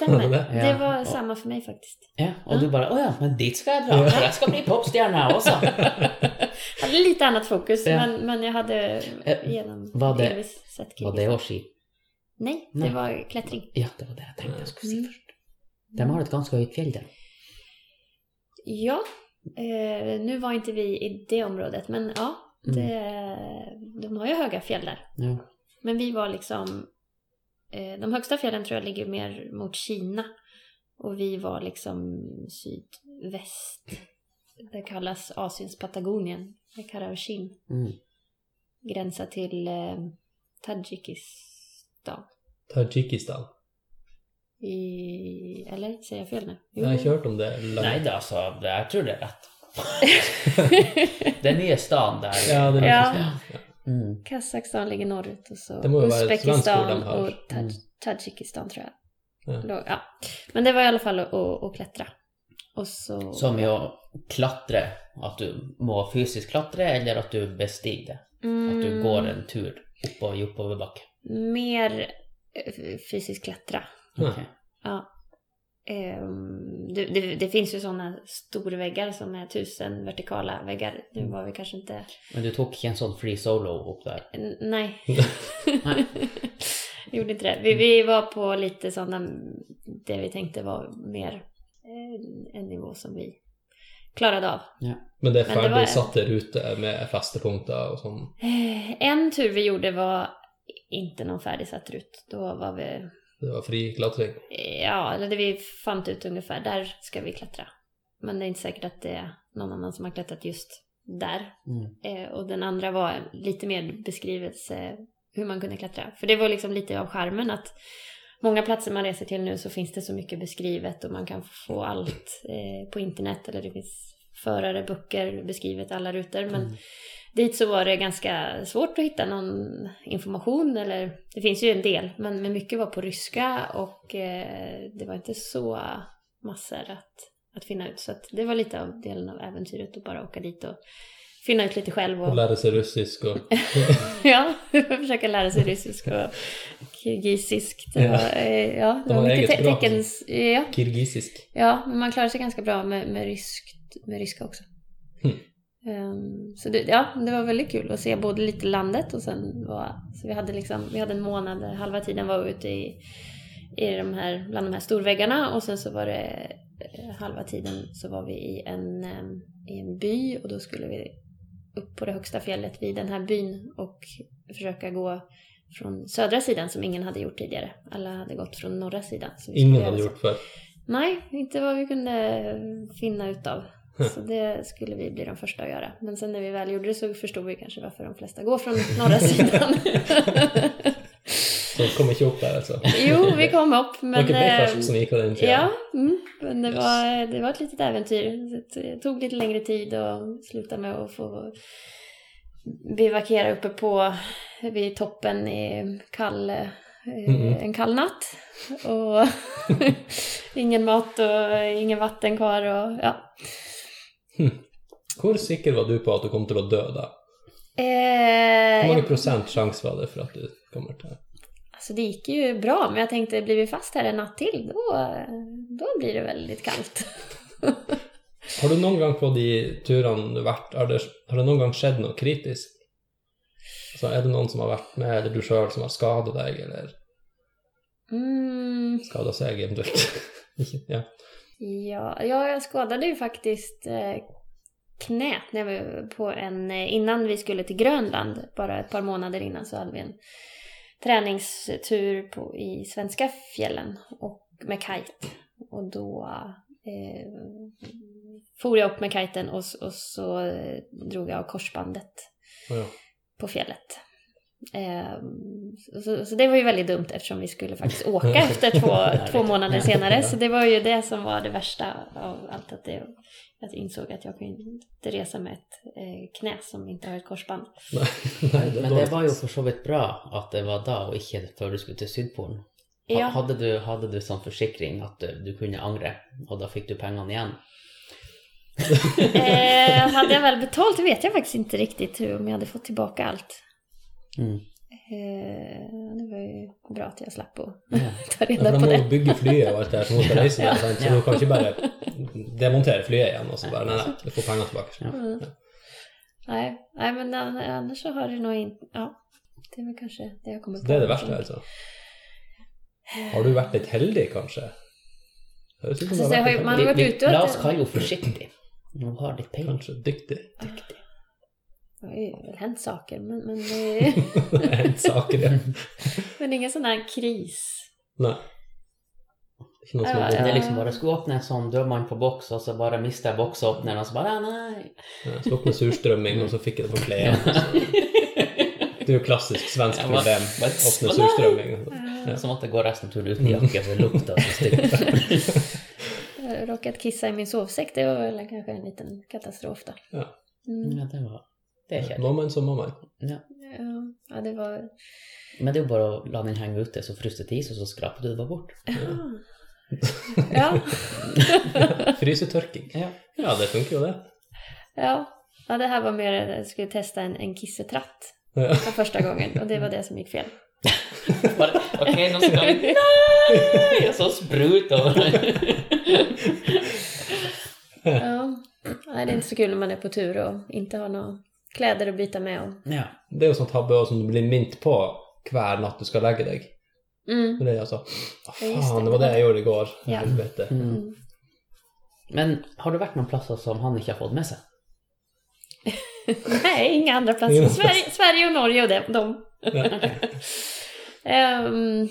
A: Var det
C: Stämmer.
A: det?
B: Ja.
C: Det var samma för mig faktiskt.
B: Ja, og
C: Ja.
B: du bare 'Å ja, men dit skal jeg dra, for jeg skal bli popstjerne jeg også'.
C: Jag hade lite annat fokus,
B: Ja.
C: men, men jag hade
B: Eh,
C: genom
B: var det-
C: delvis sett
B: Og
C: Kirgistan.
B: det var ski.
C: Nej,
B: Nej.
C: det var klättring.
B: Ja, det var det jeg tenkte jeg skulle si
C: Mm.
B: først. De har et ganske høyt fjell der.
C: Ja, eh, nu var inte vi i det området, men ja,
B: Mm.
C: det, de har ju höga fjäll där.
B: Ja.
C: Men vi var liksom... Eh, de högsta fjällen tror jag ligger mer mot Kina. Och vi var liksom sydväst. Det kallas Asiens Patagonien. Det kallas Shin.
B: Mm.
C: Gränsar till eh, Tadzjikistan.
A: Tajikistan.
C: I, eller? Säger jag fel nu?
A: Jeg har ikke hørt om det.
B: Nei da, alltså, jeg tror det er rett. den nye staden der.
A: Ja, det er
C: Ja.
A: ja.
B: Mm.
C: Kazakstan ligger norrut och så
A: Det må ju vara ett svenskt ord
C: Uzbekistan
A: de har.
C: och Taj-
B: Mm.
C: Tadzjikistan tror jag.
A: Ja.
C: Låg, ja. Men det var i alla fall att, att, att klättra. Och så...
B: Som i å klatre. At du må fysisk klatre, eller at du bestiger det. At du
C: Mm.
B: går en tur opp og i oppoverbakke.
C: mer eh, fysiskt klättra.
A: Ja.
B: Ok.
C: Ja. Ehm, Det, det, det finns ju sådana storväggar som är tusen vertikala väggar. Nu
A: Mm.
C: var vi kanske inte...
B: Men du tok ikke en sånn free solo opp der?
C: N- Nej.
B: Nej.
C: Vi gjorde inte det. Vi, vi var på lite sådana, det vi tänkte var mer eh, en nivå som vi klarade av.
A: Men det er
C: Men det var-
A: ferdig satte ruter med festepunkter og sånn.
C: Eh, En tur vi gjorde var inte någon färdigsatt rut. Då var vi...
A: Det var fri klatring.
C: Ja, eller det vi fann ut ungefär, där ska vi klättra. Men det är inte säkert att det är någon annan som har klättrat just där.
B: Mm.
C: Eh, och den andra var lite mer beskrivelse hur man kunde klättra. För det var liksom lite av charmen att många platser man reser till nu så finns det så mycket beskrivet och man kan få allt eh, på internet eller det finns förare, böcker, beskrivet alla rutor. Men
B: Mm.
C: dit så var det ganska svårt att hitta någon information eller det finns ju en del men, men mycket var på ryska och eh, det var inte så massor att, att finna ut så att det var lite av delen av äventyret att bara åka dit och finna ut lite själv
A: Å
C: och
A: lære seg russisk och
C: ja, försöka lära sig ryssisk och kirgisiskt. Och,
A: Ja.
C: eh, ja, det
A: De har
C: var mycket
A: eget
C: te-
A: språk.
C: teckens... Ja,
A: kirgisisk.
C: Ja, men man klarar sig ganska bra med, med, ryskt, med ryska också.
A: Mm.
C: Ehm, så det, ja, det var väldigt kul att se både lite landet och sen var, så vi hade liksom, vi hade en månad, där halva tiden var ute i, i de här, bland de här storväggarna och sen så var det eh, halva tiden så var vi i en, em, i en by och då skulle vi upp på det högsta fjället vid den här byn och försöka gå från södra sidan som ingen hade gjort tidigare. Alla hade gått från norra sidan. Så vi skulle
A: Ingen
C: göra
A: hadde
C: så.
A: gjort før.
C: Nej, inte vad vi kunde finna utav. Så det skulle vi bli de första att göra. Men sen när vi väl gjorde det så förstod vi kanske varför de flesta går från norra sidan.
A: Så kom ikke opp der, altså.
C: jo, vi kom upp men...
A: alltså. det var ikke
C: eh,
A: Bifrost som gikk av den fjæren.
C: Ja, mm, men det,
A: Yes.
C: var, det var ett litet äventyr. Det tog lite längre tid och slutade med att få bivakera uppe på vid toppen i kall, eh,
A: Mhm.
C: en kall natt. Och ingen mat och ingen vatten kvar. Och, ja.
A: Hvor sikker var du på at du kom til å dø da?
C: eh,
A: Hvor mange
C: jag,
A: prosent sjanse var det for at du kommer til
C: alltså det gick ju bra, men jag tänkte blir vi fast här en natt till då, då blir det väldigt kallt.
A: Har du noen gang på de turene du har vært, har det, har det noen gang skjedd noe kritisk? Så er Alltså, det noen som har vært med, eller du sjøl, som har skada deg, eller
C: Mm.
A: skada seg eventuelt? Ikke- ja.
C: Ja, ja, jag skadade ju faktiskt eh, knät när vi var på en, eh, innan vi skulle till Grönland, bara ett par månader innan så hade vi en träningstur på, i svenska fjällen och med kite. Och då eh, for jag upp med kiten och, s- och så eh, drog jag av korsbandet
A: Ja.
C: på fjället. Eh, så, så det var ju väldigt dumt eftersom vi skulle faktiskt åka efter två, två månader senare. Så det var ju det som var det värsta av allt. Att det, jag insåg att jag kunde inte resa med ett eh, knä som inte har ett korsband.
A: Nej, nej,
B: Men det
A: var-
B: var ju för så vidt bra att det var da, og ikke før du skulle til Sydpolen. Ha-
C: Ja,
B: Hadde, du, hadde du sånn forsikring at du, du kunne angre, og da fikk du pengene igjen?
C: eh, hade jag väl betalt det vet jag faktiskt inte riktigt hur, om jag hade fått tillbaka allt.
B: Mm.
C: Eh, det var ju bra att jag slapp att
B: Ja.
C: ta
A: Ja, för de
C: reda på
A: må
C: det.
A: jo bygge flyet og alt det her som hun skal reise med,
B: Ja.
A: sant? så
B: Ja.
A: hun kan ikke bare demontere flyet igjen og så bare Nei, nei, du får pengene tilbake.
C: Mm. Nej, nej, men an- annars så har det nog inte... Ja, det är väl kanske det jag kommer på.
A: Det er det verste, altså. Har du vært litt heldig, kanskje? Høres ut som
C: Altså,
A: du har
C: jeg
A: vært
C: har
A: litt heldig.
C: jo- har
B: Vi,
C: vært
B: vi,
C: ute og-
B: la oss kalle henne forsiktig. Hun har litt peiling.
A: Kanskje dyktig.
C: Duktig. Det har ju väl hänt saker, men, men, eh,
A: En saker igjen.
C: men ingen sån här kris.
A: Nei. Ikke noe som
C: Ja,
A: er
C: ja.
B: Det
A: vondt.
B: er liksom bare skulle åpne en sånn dørmann på boks, og så bare mister jeg boksåpneren, og så bare nei.
A: Ja, Slukk med surstrømming, og så fikk jeg det på klærne. Det er jo klassisk svensk
B: Ja, hva-
A: problem.
B: hva-
A: Åpne surstrømming.
B: Så måtte jeg gå resten av turen uten jakke, for lukta så stygt.
C: Jag har råkat kissa i min sovsäck, det var väl kanske en liten katastrof då.
A: Ja.
C: Mm,
B: Ja, det var Det er kjedelig.
A: Må man, så må man.
C: ja, ja, det var...
B: Men det er jo bare å la den henge ute, så frosset is, og så skraper du det bare bort.
C: Ja. Ja,
A: Frysetørking.
B: Ja.
A: Ja, det funker jo, det.
C: ja. ja, det här var mer att jag skulle testa en, en kissetratt
A: Ja.
C: för första gången och det var det som gick fel.
B: Bare, ok, nå skal vi Nei! Og så sprut over.
C: Ja, nej, det är inte så kul när man är på tur och inte har några kläder att byta med. Och...
B: Ja.
A: Det er jo sånn tabbe også som du blir minnet på hver natt du skal legge deg.
C: Mm.
A: Men Det er altså Å,
C: Ja, just det.
A: faen, det var det jeg gjorde i går.
C: Ja.
A: Helvete.
B: Mm.
C: Mm.
B: Men har du vært noen plasser som han ikke har fått med seg?
C: Nej, inga andra platser.
A: Inga
C: Sverige, Sverige och Norge och de. de. Ehm,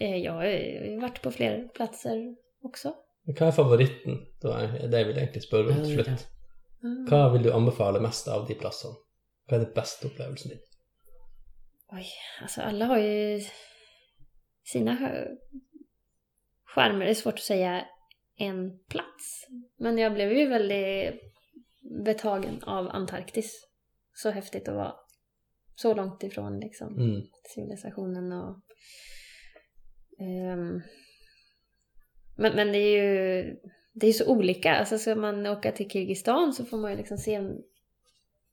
C: eh, jag har ju varit på fler platser också.
A: Hva er favoritten? Det var- det vil jeg egentlig spørre om til
B: Ja,
A: slutt.
C: Mm.
A: Hva vil du anbefale mest av de plassene? Hva er den beste opplevelsen din?
C: Oj, alltså alla har ju sina hö- charmer. Det är svårt att säga en plats. Men jag blev ju väldigt betagen av Antarktis. Så häftigt att vara så långt ifrån liksom.
A: Mm.
C: civilisationen och... ehm, men, men det är ju det är så olika. Alltså ska man åka till Kirgizistan så får man ju liksom se en,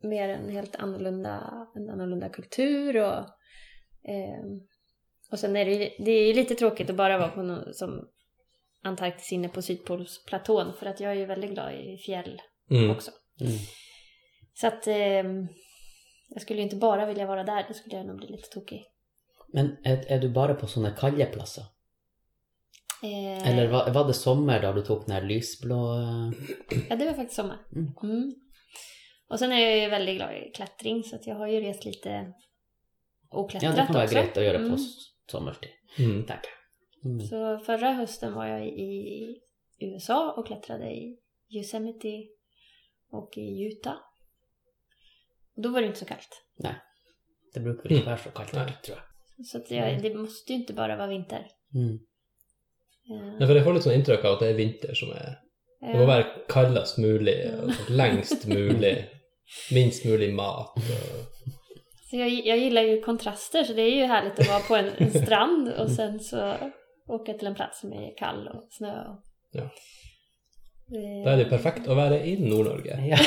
C: mer en helt annorlunda, en annorlunda kultur och... ehm, och sen är det ju det är ju lite tråkigt att bara vara på någon, som Antarktis inne på sydpolsplatån för att jag är ju väldigt glad i fjäll
A: Mm.
C: också.
B: Mm.
C: Så att ehm, jag skulle ju inte bara vilja vara där, då skulle jag nog bli lite tokig.
B: Men er, er du bare på sånne kalde plasser?
C: Eh,
B: Eller var, var det sommer da du tok den der lysblå eh,
C: Ja, det var faktiskt sommar.
B: Mm.
C: Mm. Och sen är jag ju väldigt glad i klättring så att jag har ju rest lite och
B: Ja,
C: klättrat
B: det kan være
C: också.
B: greit å gjøre på
C: Mm.
B: s- sommerstid,
A: Mm.
B: tenker jeg. Mm.
C: Så förra hösten var jag i USA och klättrade i Yosemite och i Utah. Och då var det inte så kallt.
B: Det bruker vel ikke være så kaldt der,
A: Nei.
B: Mm. tror jeg.
C: Så att jag,
B: Mm.
C: det måste ju inte bara vara vinter.
B: Mm.
C: Eh,
A: Ja, for jeg får litt sånn inntrykk av at det er vinter som er Det må
C: eh,
A: være kaldest mulig, og sånn lengst mulig, minst mulig mat. Og...
C: Så jag, jag gillar ju kontraster så det är ju härligt att vara på en, en strand
A: Mm.
C: och sen så åka till en plats som är kall och snö. Och...
A: Ja.
C: Eh,
A: Da er det jo perfekt å være i Nord-Norge.
B: Ja.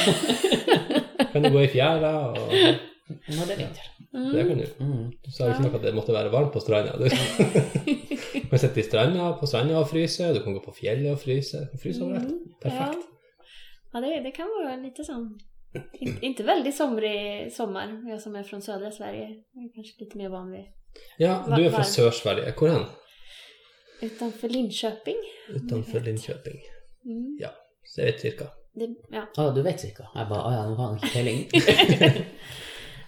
A: Kan du gå i fjæra og Det
B: Nå er det vinter.
C: Mm.
A: kan du.
B: Mm.
A: Du sa jo ikke noe at det måtte være varmt på stranda. Du du kan sitte i stranda, på stranda og fryse, du kan gå på fjellet och fryse. Du kan fryse overalt.
C: Mm,
A: Perfekt. Mm.
C: Ja, ja det, det kan vara lite sån... in- Inte väldigt somrig sommar, jag som är från södra Sverige. Jag är kanske lite mer van vid...
A: Ja, du er
C: Var-
A: fra Sør-Sverige. Hvor hen?
C: Utanför Linköping.
A: Utenfor Linköping.
C: Mm.
A: Så jeg vet cirka.
C: det, ja.
B: Å, du vet cirka? Jeg bare, å "Ah, ja, nå har han ikke peiling.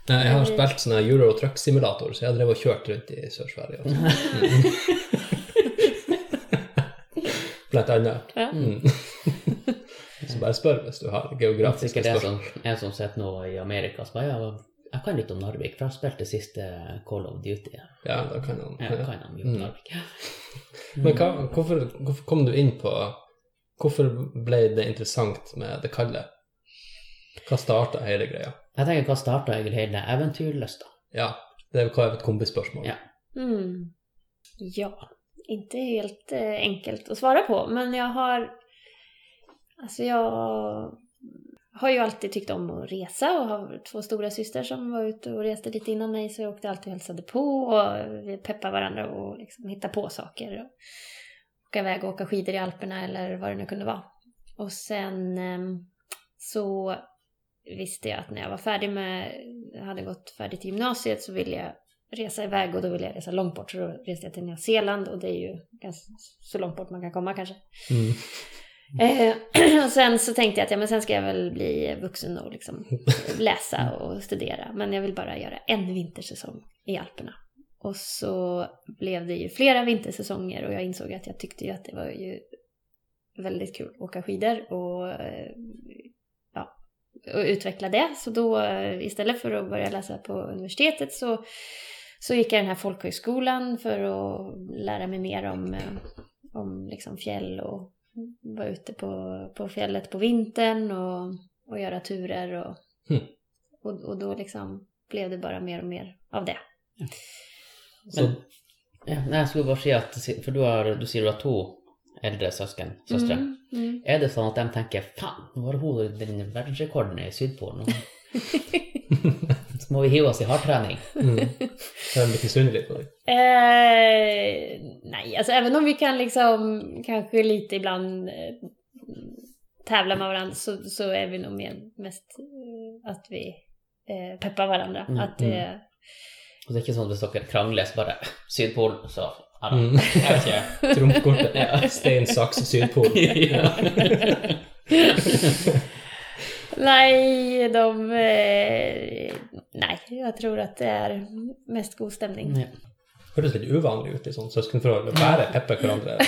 A: Nei, jeg har spilt sånn her Euro Truck Simulator, så jeg har drevet og kjørt rundt i Sør-Sverige. og sånn. Blant annet.
C: Ja.
A: Mm. Så bare spør hvis du har geografiske
B: Sikkert en
A: spørsmål.
B: som, en som sitter nå i Amerika så bare, ja, jeg kan litt om Narvik, for jeg har spilt det siste Call of Duty.
A: Ja, da kan han.
B: Jeg
A: Ja. Mm.
B: kan han jo om Narvik. Mm.
A: Men hva, hvorfor, hvorfor kom du inn på Hvorfor ble det interessant med det kalde? Hva starta hele greia?
B: Jeg tenker, hva starta egentlig hele eventyrlysta?
A: Ja, det var et kombispørsmål.
B: Ja.
C: Mm. Ja, inte helt eh, enkelt att svara på, men jag har... Alltså jag har ju alltid tyckt om att resa och har två stora systrar som var ute och reste lite innan mig så jag åkte alltid och hälsade på och vi peppade varandra och liksom hittade på saker. Och åka iväg och åka skidor i Alperna eller vad det nu kunde vara. Och sen ehm, så visste jag att när jag var färdig med, hade gått färdigt gymnasiet så ville jag resa iväg och då ville jag resa långt bort. Så då reste jag till Nya Zeeland och det är ju ganska, så långt bort man kan komma kanske.
A: Mm.
C: Eh, och sen så tänkte jag att ja, men sen ska jag väl bli vuxen och liksom läsa och studera. Men jag vill bara göra en vintersäsong i Alperna. Och så blev det ju flera vintersäsonger och jag insåg att jag tyckte ju att det var ju väldigt kul att åka skidor och, eh, ja, och utveckla det. Så då eh, istället för att börja läsa på universitetet så, så gick jag den här folkhögskolan för att lära mig mer om, eh, om liksom fjäll och vara ute på, på fjället på vintern och, och göra turer och,
B: Hm.
A: Hmm.
C: och, och då liksom blev det bara mer och mer av det.
A: Så,
B: Men- Ja, nei, jeg skulle bare si at, for du, har, du sier du har to eldre søsken, søstre.
C: Mm, mm.
B: Er det sånn at de tenker, faen, nå har hun den verdensrekorden i Sydpolen. nå. Så må vi hive oss i hardtrening.
A: mm. Så er de litt misunnelige på deg.
C: Eh, nej, alltså även om vi kan liksom kanske lite ibland eh, tävla med varandra så, så är vi nog mer, mest eh, att vi eh, peppar varandra.
B: Mm,
C: Att det,
B: Og det er ikke sånn at hvis dere krangler, så bare Sydpolen, så ja, da.
A: Mm.
B: Jeg vet ikke.
A: Trumfkortet.
B: Ja.
A: Stein, saks, sydpol.
C: Nej, de... Eh, nej, jag tror att det är mest god stämning.
B: Ja.
A: Høres litt uvanlig ut i sånn søskenforhold. å Bare peppe hverandre.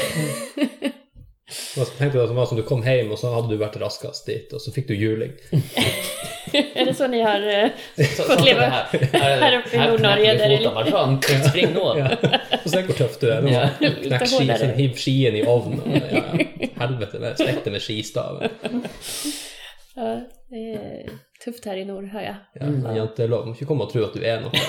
A: Hva tenkte du at det var som du kom hjem, og så hadde du vært raskest dit, og så fikk du juling.
C: är det så ni har... Eh,
B: Så,
C: Fått
B: sånn
C: leva
B: det her, her,
C: her oppe i Nord-Norge,
B: knekker vi
C: der
B: fotene bare sånn, spring nå.
A: Ja. Og se hvor tøff du er.
B: Ja.
A: Ja. Knekk ski,
C: Litt
A: sånn, hiv skien i ovnen. og Ja, ja. Helvete, det stekte med skistaven.
C: ja, det är tufft här i norr, hör jag.
A: Ja, men Jantelov, må ikke komme og tro at du er noe.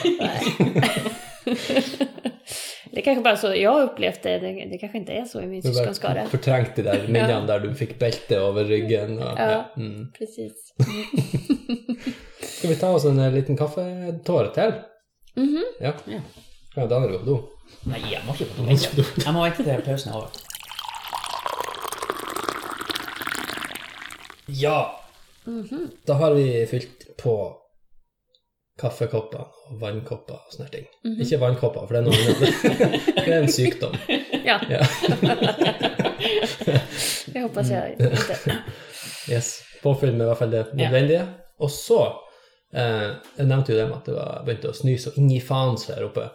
C: Det är kanske bara så jag har upplevt det. Det, det kanske inte är så i min
A: Du bare
C: syskonskara.
A: fortrengte de der minnene der du fikk belte over ryggen. Og,
C: Ja.
A: ja. mm.
C: Precis.
A: Skal vi ta oss en eh, liten kaffetåre til?
C: Mhm.
A: Ja.
B: Ja.
A: ja Daniel går på do.
B: Nei, jeg må ikke på do. Jeg må vente til pausen er over.
A: Ja! Da har vi fylt på kaffekopper og vannkopper och sånne ting. Ikke vannkopper, for det er noe annet. det är en sykdom.
C: Ja.
A: Ja.
C: Jag hoppas jag inte...
A: Yes. Påfyll med i hvert fall det nødvendige. Og så eh, Jeg nevnte jo det med at det var, begynte å sny så inn i faen seg her oppe.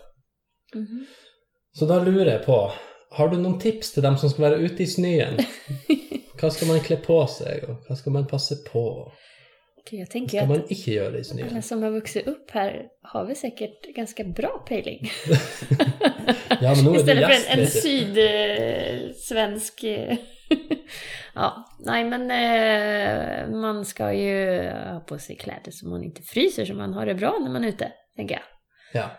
C: Mhm.
A: Så da lurer jeg på Har du noen tips til dem som skal være ute i snøen? Hva skal man kle på seg, och hva skal man passe på?
C: Okej, jag
A: Hva
C: tänker ju
A: skal
C: att
A: man ikke gjøre i snøen?
C: alla som har vuxit upp här har vi säkert ganska bra pejling.
A: Ja, men nå er du
C: Istället
A: gjest.
C: för en, en
A: vet du.
C: sydsvensk... eh, ja, nej men eh, man ska ju ha på sig kläder så man inte fryser, så man har det bra när man är ute, tänker jag.
A: Ja.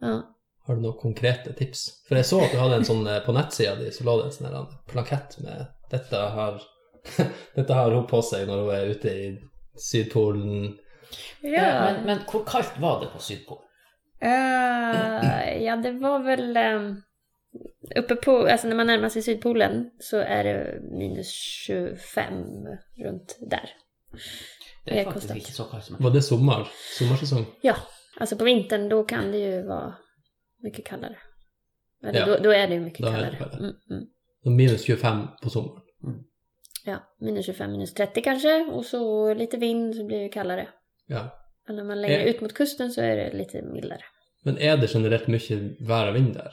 C: Ja.
A: Har du noen konkrete tips? For jeg så at du hadde en sånn eh, på nettsida di, så lå det en sånn her, eh, plakett med 'Dette har, dette har hun på seg når hun er ute i Sydpolen'.
C: Ja.
B: Men, men hvor kaldt var det på Sydpolen?
C: Eh, ja, det var väl... eh, uppe på... Alltså när man närmar sig Sydpolen så är det minus 25 runt där.
B: Det
C: Det
B: er
C: er
B: faktisk
C: konstant.
B: ikke så kaldt som jeg
A: Var det sommer? Sommersesong?
C: Ja, alltså på vintern då kan det ju vara mycket kallare. Eller
A: Ja.
C: då, då är det ju mycket
A: Då är det
C: kallare.
A: kallare.
C: Mm, mm.
A: Minus 25 på sommeren.
C: Ja, minus 25, minus 30 kanske och så lite vind så blir det kallare.
A: Ja.
C: Men när man längre
A: Eh.
C: ut mot kusten så är det lite mildare.
A: Men är det generellt mycket väravind där?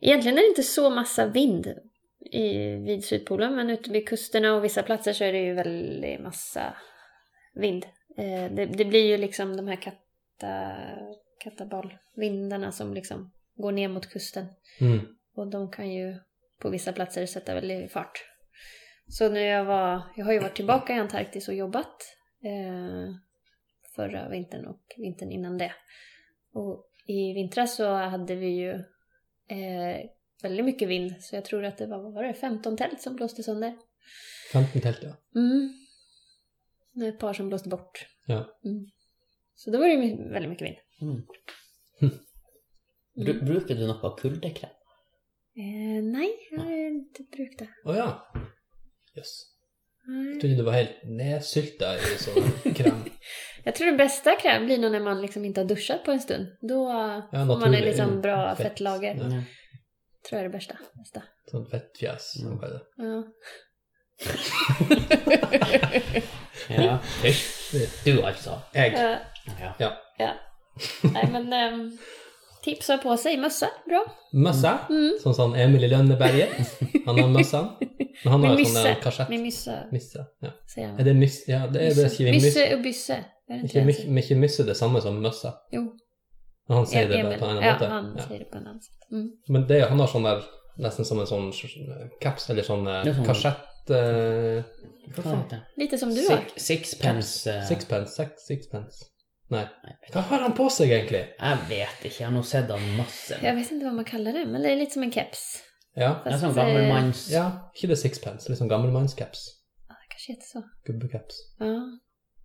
C: Egentligen är det inte så massa vind i, vid Sydpolen, men ute vid kusterna och vissa platser så är det ju väldigt massa vind. Eh, det, det blir ju liksom de här kata, katabalvindarna som liksom går ner mot kusten.
A: Mm.
C: Och de kan ju på vissa platser sätta väldigt fart. Så när jag var, jag har ju varit tillbaka i Antarktis och jobbat eh, förra vintern och vintern innan det. Och i vintras så hade vi ju eh, väldigt mycket vind, så jag tror att det var, vad var det, 15 tält som blåste sönder.
A: 15 tält, ja.
C: Mm. Det är ett par som blåste bort.
A: Ja.
C: Mm. Så då var det ju my- väldigt mycket vind.
B: Mm.
C: Mm.
B: Bru- Bruker du noe kuldekräm?
C: Eh, nej, jag har inte brukt det.
A: Åh ja. Yes.
C: Nej.
A: Jag trodde det var helt nässylta i sån här kräm.
C: Jag tror den bästa kräm blir nog när man liksom inte har duschat på en stund. Då får man en
A: naturlig,
C: liksom
A: mm,
C: bra
A: fett.
C: fettlager.
B: Mm.
A: Ja.
C: Tror jag är det bästa. bästa.
A: Sånt fettfjäs.
B: Mm.
A: Mm.
C: Ja.
B: Ja. Mm. Du alltså.
A: Ägg.
C: Ja.
B: Ja.
C: ja. Nej men ehm, tips att ha på sig mössa. Bra.
A: Mössa.
C: Mm.
A: Som sån Emil i Lönneberget. Han har mössan. Men han har
C: Med
A: en sån där
C: mysse.
A: korsett.
C: Med myssa
A: Myssa. Ja.
C: säger
A: Är
C: man.
A: det myss? Ja, det är det skriver myss.
C: Mysse och bysse. Är det inte
A: Mycket,
C: det?
A: mycket, mycket myss är detsamma som mössa.
C: Jo.
A: Men Han säger det bara
C: Emil.
A: på en annan
C: ja,
A: måte.
C: han
A: Ja.
C: säger det på en annan sätt. Mm.
A: Men det, han har sån där, nästan som en sån kaps eller sån
B: Det är
A: eh,
B: sån-
A: korsett... Eh,
B: Hva faen heter det?
C: Lite som du har.
B: Six, sixpence eh,
A: sixpence, sex, sixpence. Nej.
B: Nej, vet
A: Vad har han på sig egentligen?
B: Jeg vet ikke, jeg har nå sett han masse.
C: Jag vet inte vad man kallar det, men det är lite som en keps.
A: Ja,
B: Det er sånn
C: Fast, eh,
B: gammel manns...
A: ja inte det sixpence, liksom gammelmanskaps.
C: ja, det kanske heter så.
A: Gubbecaps.
C: Ja.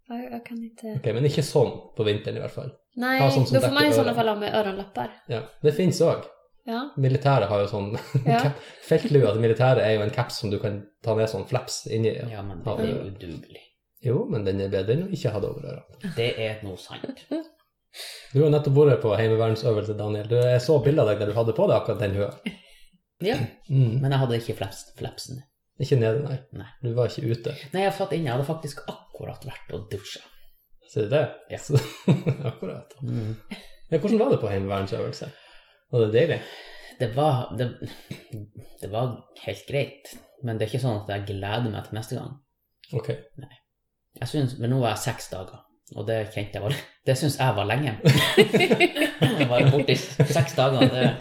C: Ja, Jag kan inte...
A: Okej, men inte sån på vintern i alla fall.
C: Nej,
A: Ja, som- som
C: då får man i
A: täcker
C: sådana
A: öron.
C: fall ha med öronlappar.
A: Ja, det finns också.
C: Ja,
A: Militärer har ju sån
C: Ja.
A: ja. fältlua till militärer Alltså, är ju en kaps som du kan ta med sån flaps in i.
B: Ja, men det er jo udugelig.
A: Jo, men den är bättre än att inte ha det över örat.
B: Det er noe sant.
A: Du har nettopp varit på heimevernsøvelse, Daniel. Du, jag såg bilder av dig där du hade på dig akkurat den hua.
B: Ja.
A: Mm.
B: Men jeg hadde ikke flaps, flapsen.
A: Inte nere, nej.
B: Nej.
A: Du var inte ute.
B: Nei, jeg satt inne. Jeg hadde faktisk akkurat vært og dusja.
A: Ser du det?
B: Ja.
A: Så- akkurat. Ja, hvordan var det på heimevernsøvelse? Var det deilig?
B: Det var det, det var helt greit. Men det er ikke sånn at jeg gleder meg til neste gang.
A: Ok.
B: Jeg synes, Men nå var jeg seks dager, og det kjente jeg var Det syns jeg var lenge. jeg var borte i seks dager. og Det.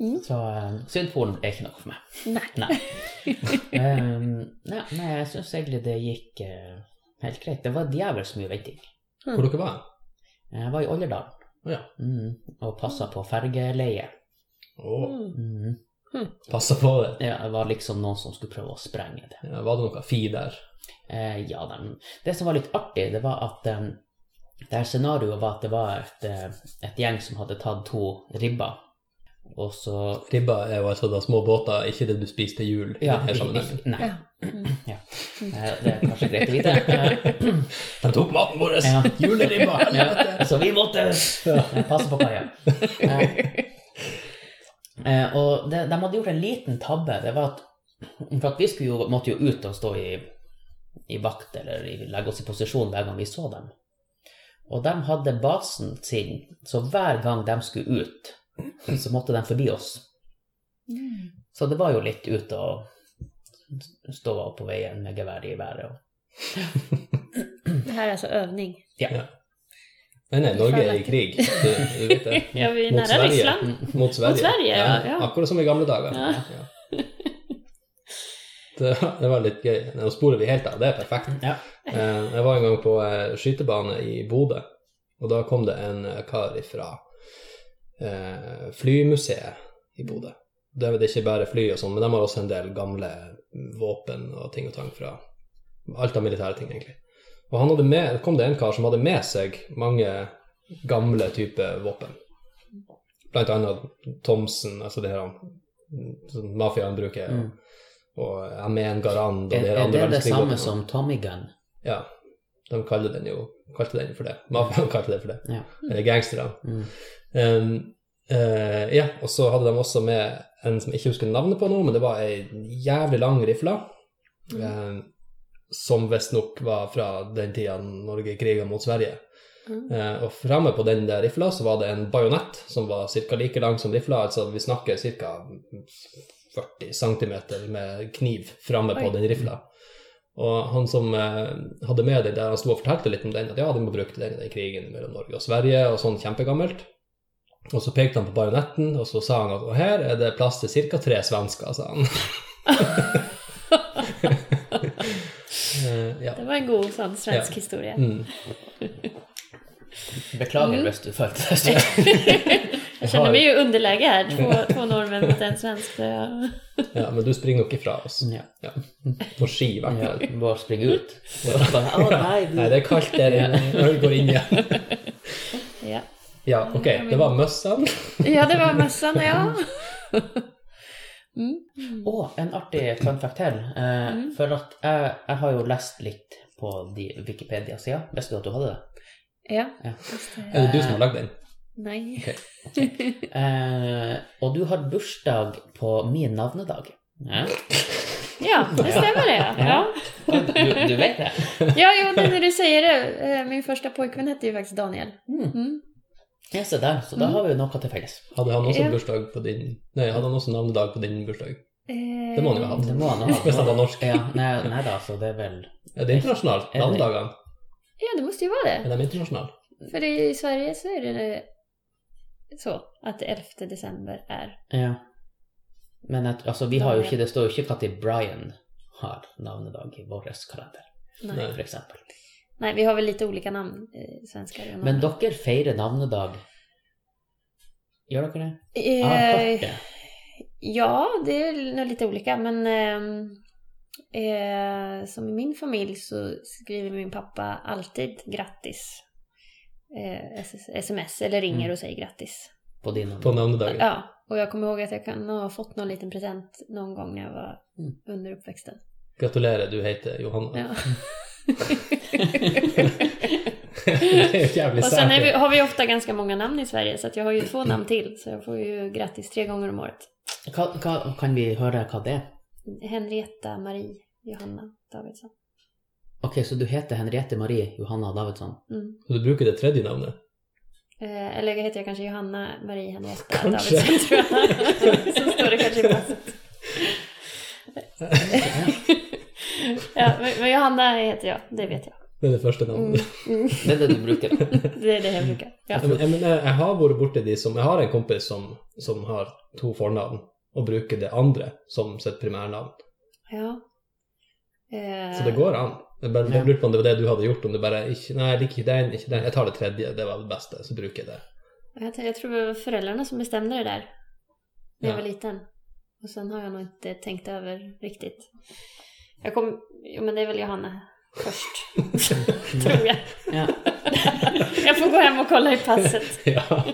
C: Mm.
B: Så eh, Sydpolen er ikke noe for meg.
C: nej.
B: Nei. Ehm, nei, nei, jeg syns egentlig det gikk eh, helt greit. Det var djevelsk mye venting.
A: Hvor dere var?
B: Jeg var i Olderdalen
A: Å ja.
B: mm, og passa på fergeleie.
A: Åh,
C: Mm.
B: Mm.
A: passa på det.
B: Ja, det var liksom noen som skulle prøve å sprenge det.
A: Ja, var det noe fi der?
B: Eh, ja, den. Det som var litt artig, det var at eh, det her scenarioet var at det var et, eh, et gjeng som hadde tatt to ribber. Og så
A: Ribba er jo altså da små båter, ikke det du spiser til jul. i denne sammenhengen.
B: ikke- Nei,
C: Ja. Mm.
B: eh, det er kanskje greit å vite.
A: De tok maten vår!
B: Ja.
A: Juleribba! helvete!
B: ja, så vi måtte eh, passe på kaia. Eh, eh, og det, de hadde gjort en liten tabbe. Det var at For at vi skulle jo, måtte jo ut og stå i, i vakt eller i, legge oss i posisjon hver gang vi så dem. Og de hadde basen sin, så hver gang de skulle ut, så måtte de forbi oss.
C: Mm.
B: Så det var jo litt ut og stå på veien med gevær i været. og-
C: Det här är alltså övning.
A: Nei, nei, Norge er i krig. Du, du vet det.
C: Ja, vi är
A: Mot
C: nära
A: Sverige.
C: Ryssland.
B: Mm.
A: Mot Sverige.
C: Mot Sverige, ja, ja.
A: Akkurat som i gamle dager.
C: Ja.
A: Ja. Det, det var litt gøy. Nå sporer vi helt av. Det er perfekt.
B: Ja.
A: Eh, Jeg var en gang på eh, skytebane i Bodø, og da kom det en eh, kar fra eh, flymuseet i Bodø. Det er det ikke bare fly og sånn, men de har også en del gamle våpen og ting og tang fra Alt av militære ting, egentlig. Og han hadde med, kom det en kar som hadde med seg mange gamle typer våpen. Blant annet Thomsen, altså det her han- som mafiaen bruker,
B: Mm.
A: og eh, Amen Garand og det
B: Er,
A: her andre
B: er eh, det det
A: verdenskrig-
B: samme som Tommy Gun?
A: ja, de kaller den jo kalte den for det. Mafiaen kalte det for det.
B: Ja.
A: Eller gangsterne.
B: Mm.
A: Um, eh, ja, og så hadde de også med en som jeg ikke husker navnet på nå, men det var ei jævlig lang rifle
C: Mm.
A: eh, som visstnok var fra den tida Norge kriga mot Sverige.
C: Mm.
A: Eh, og framme på den der rifla så var det en bajonett som var cirka like lang som rifla, altså vi snakker ca. 40 cm med kniv framme på
C: Oi.
A: den rifla. Og han som eh, hadde med den der, han sto og fortalte litt om den, at ja, de har brukt den i den krigen mellom Norge og Sverige, og sånn kjempegammelt. Og så pekte han på bajonetten, og så sa han at og her er det plass til ca. tre svensker, sa han. Eh, ja.
C: Det var en god sånn svensk historie.
A: Mm.
B: Beklager
C: Mm.
B: hvis du følte deg stygg.
C: Jag känner mig ju underläge här.
A: Mm.
C: Två, två norrmän mot en svensk. så jag-
A: ja, men du springer nok ifra oss.
B: Ja.
A: Ja. På ski, i hvert
B: Ja,
A: fall.
B: bare springe ut. Bare, Å nei, du.
A: Nei, det er kaldt der inne. Øl går inn igjen.
C: Ja.
A: Ja, ok. Det var møssene.
C: ja, det var mössan, ja. Mm.
B: Og en artig fun fact til. Eh, For at jeg, jeg har jo lest litt på de Wikipedia-sida. Visste du at du hadde det?
C: Ja,
B: Ja.
C: just det.
A: Er det du som har lagd den?
C: Nej.
B: Eh, og du har bursdag på min navnedag. Ja.
C: Ja, det stämmer det. Ja,
B: Du, du vet det?
C: ja jo, det, när du säger det. eh, Min första pojkvän hette ju faktiskt Daniel.
B: Mm.
C: Mm.
B: Ja, se der. Så da har vi jo noe til felles.
A: Hadde han også
C: Ja.
A: bursdag på din Nei, hadde han også navnedag på din bursdag?
C: Eh,
A: Det må han jo ha hatt.
B: Det må han ha.
A: Hvis han var norsk.
B: Ja, nei, nei da, så det er vel
A: Er det internasjonalt?
B: Er det-
A: Navnedagene?
C: Ja, det måste ju vara det.
A: Er de internasjonale?
C: För i Sverige så är det så att 11 december är...
B: Ja. Men at, altså, vi har jo ikke, det står jo ikke når Brian har navnedag i vår kalender,
C: Nej.
A: Nej.
C: Nej.
B: for eksempel.
C: vi har väl lite olika namn, eh, svenskar. och
B: Men
C: norrmän.
B: dere feirer navnedag Gjør dere det? Jeg har hørt
C: Eh,
B: det.
C: ja, det är nog lite olika, men ehm, eh, som i min familj så skriver min pappa alltid grattis. Eh, SS sms eller ringer
B: Mm.
C: och säger grattis.
B: På din navnedag.
A: På navnedagen?
C: Ja, och jag kommer ihåg att jag kan ha fått någon liten present någon gång när jag var
B: Mm.
C: under uppväxten.
A: Gratulerer, du heter Johanna.
C: Ja.
A: Det er jo jævlig
C: Och sen är vi,
A: sært.
C: har vi ofta ganska många namn i Sverige så att jag har ju två namn till så jag får ju grattis tre gånger om året.
B: Hva, hva, kan vi høre hva det er?
C: Henrietta, Marie, Johanna, Davidsson.
B: Ok, så du heter Henriette Marie Johanna Davidsson.
C: Mm.
A: Så du bruker det tredje navnet?
C: Eh, eller heter jag kanske Johanna, Marie, Henrietta,
A: Kanske.
C: Davidsson tror jag. så står det kanske i passet. ja, men, men Johanna heter jag, det vet jag.
A: Det er det første
C: Mm.
A: navnet.
C: Mm.
B: Det er det du bruker.
C: Det är det jag brukar. Ja.
A: Jeg, jeg, men jeg, jeg har vært borti de som Jeg har en kompis som, som har to fornavn, og bruker det andre som sitt primærnavn.
C: ja. Eh,
A: Så det går an. Jeg bare
B: Ja.
A: jeg lurte på om det var det du hadde gjort, om det bare ikke, Nei, jeg liker ikke den, ikke den. Jeg tar det tredje, det var det beste, så bruker jeg det.
C: Jag, tror- jag tror det var föräldrarna som bestämde det där när jag
A: Ja.
C: var liten. Och sen har jag nog inte tänkt över riktigt. Jag kom, jo men det är väl Johanna först, tror jag.
B: Ja.
C: Jag får gå hem och kolla i passet.
A: Ja.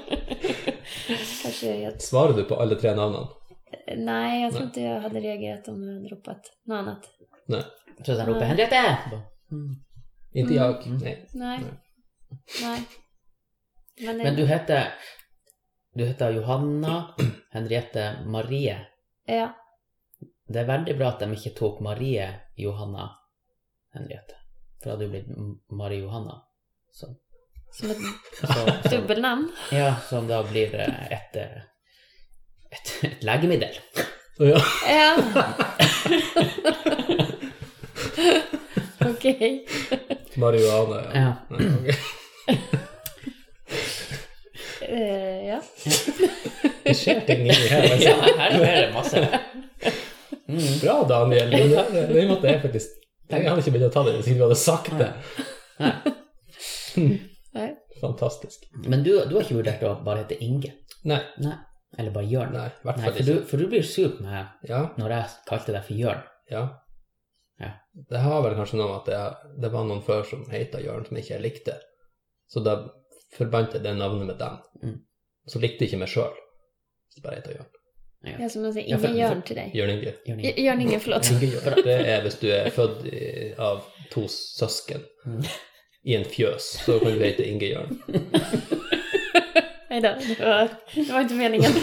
C: Kanske jag,
A: Svarer du på alle tre navnene?
C: nej, jag tror inte jag hade reagerat om jag hade ropat något annat.
B: Så den roper 'Henriette!' Mm.
A: Ikke
C: Mm.
A: jag. Nei.
C: Nej.
A: Nej.
C: Nej. Men,
B: Men du heter Du heter Johanna Henriette Marie.
C: Ja,
B: Det er veldig bra at de ikke tok Marie Johanna Henriette. For det hadde jo blitt M- Marie Johanna. Så,
C: som ett
B: så, så,
C: dubbelnamn.
B: ja, som da blir eh, et, eh, et, et legemiddel.
A: Å ja.
C: Ja. Okej.
A: Marihuana, ja.
B: Ja.
A: Nei, ok.
C: Eh, ja.
A: Det skjer ting inni her.
B: Ja,
A: Altså.
B: her skjer det masse. Mm.
A: Bra, Daniel. men Det, det måtte jeg faktisk Jeg hadde ikke begynt å ta det hvis ikke du hadde sagt det.
C: Nej.
A: Fantastisk.
B: Men du, du har ikke vurdert å bare hete Inge?
A: Nei.
B: Nei. Eller bare Jørn?
A: Nei, i hvert
B: Nei,
A: fall
B: for
A: ikke.
B: du, for du blir sur på meg
A: Ja.
B: når jeg kalte deg for Jørn.
A: Ja.
B: Ja.
A: Det har vel kanskje noe med at det, det var noen før som heita Jørn, som ikke jeg likte. Så da forbandt jeg det navnet med dem.
B: Mm.
A: Så likte jeg ikke meg sjøl. Så bare heter Jørn.
C: Ja, som de säger,
B: Ja, för-
C: ingen Jørn till dig.
A: Jørn Inge.
B: Jørn Inge.
C: J- Jørn ingen, förlåt.
A: Inge Jørn. Det er hvis du er født i, av to søsken
B: Mm.
A: i en fjøs, så kan du hete Inge Jørn.
C: Nej då, det var, det var inte meningen.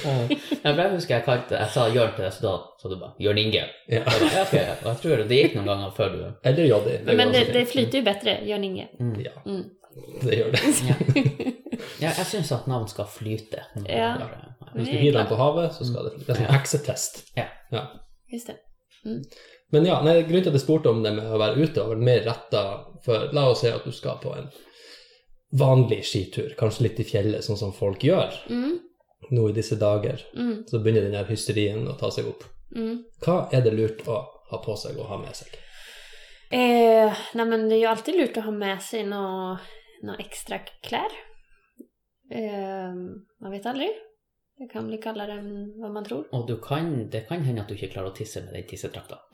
B: Ja, for jeg husker jeg kalte Jeg sa Jørn til deg, så da sa du bare Jørn Inge.
A: Ja.
B: Jeg bare, ja, ok, ja. Og jeg tror det gikk noen ganger før du
A: Eller Joddi.
B: Det
C: Men
B: går
C: det,
B: så
C: det flyter ju bättre, Jörn Inge.
A: Ja,
C: Mm.
A: det gjør det.
B: Ja, ja jeg syns at navn skal flyte.
C: Ja.
A: Hvis du
C: Det är
A: hiver
C: klart.
A: den på havet, så skal det Det er som
B: Ja.
A: heksetest.
B: Ja.
A: Ja.
C: Just det.
A: Men ja, nei, grunnen til at jeg spurte om det med å være ute, var mer retta for La oss si at du skal på en vanlig skitur, kanskje litt i fjellet, sånn som folk gjør
C: Mm,
A: nå i disse dager.
C: mm,
A: Så begynner den her hysterien å ta seg opp.
C: mm.
A: Hva er det lurt å ha på seg og ha med seg?
C: Eh, nej, men det är ju alltid lurt att ha med sig några nå extra kläder. Eh, man vet aldrig. Det kan bli kallare än vad man tror.
B: Og du kan, det kan hende at du ikke klarer å tisse med den tissetrakta.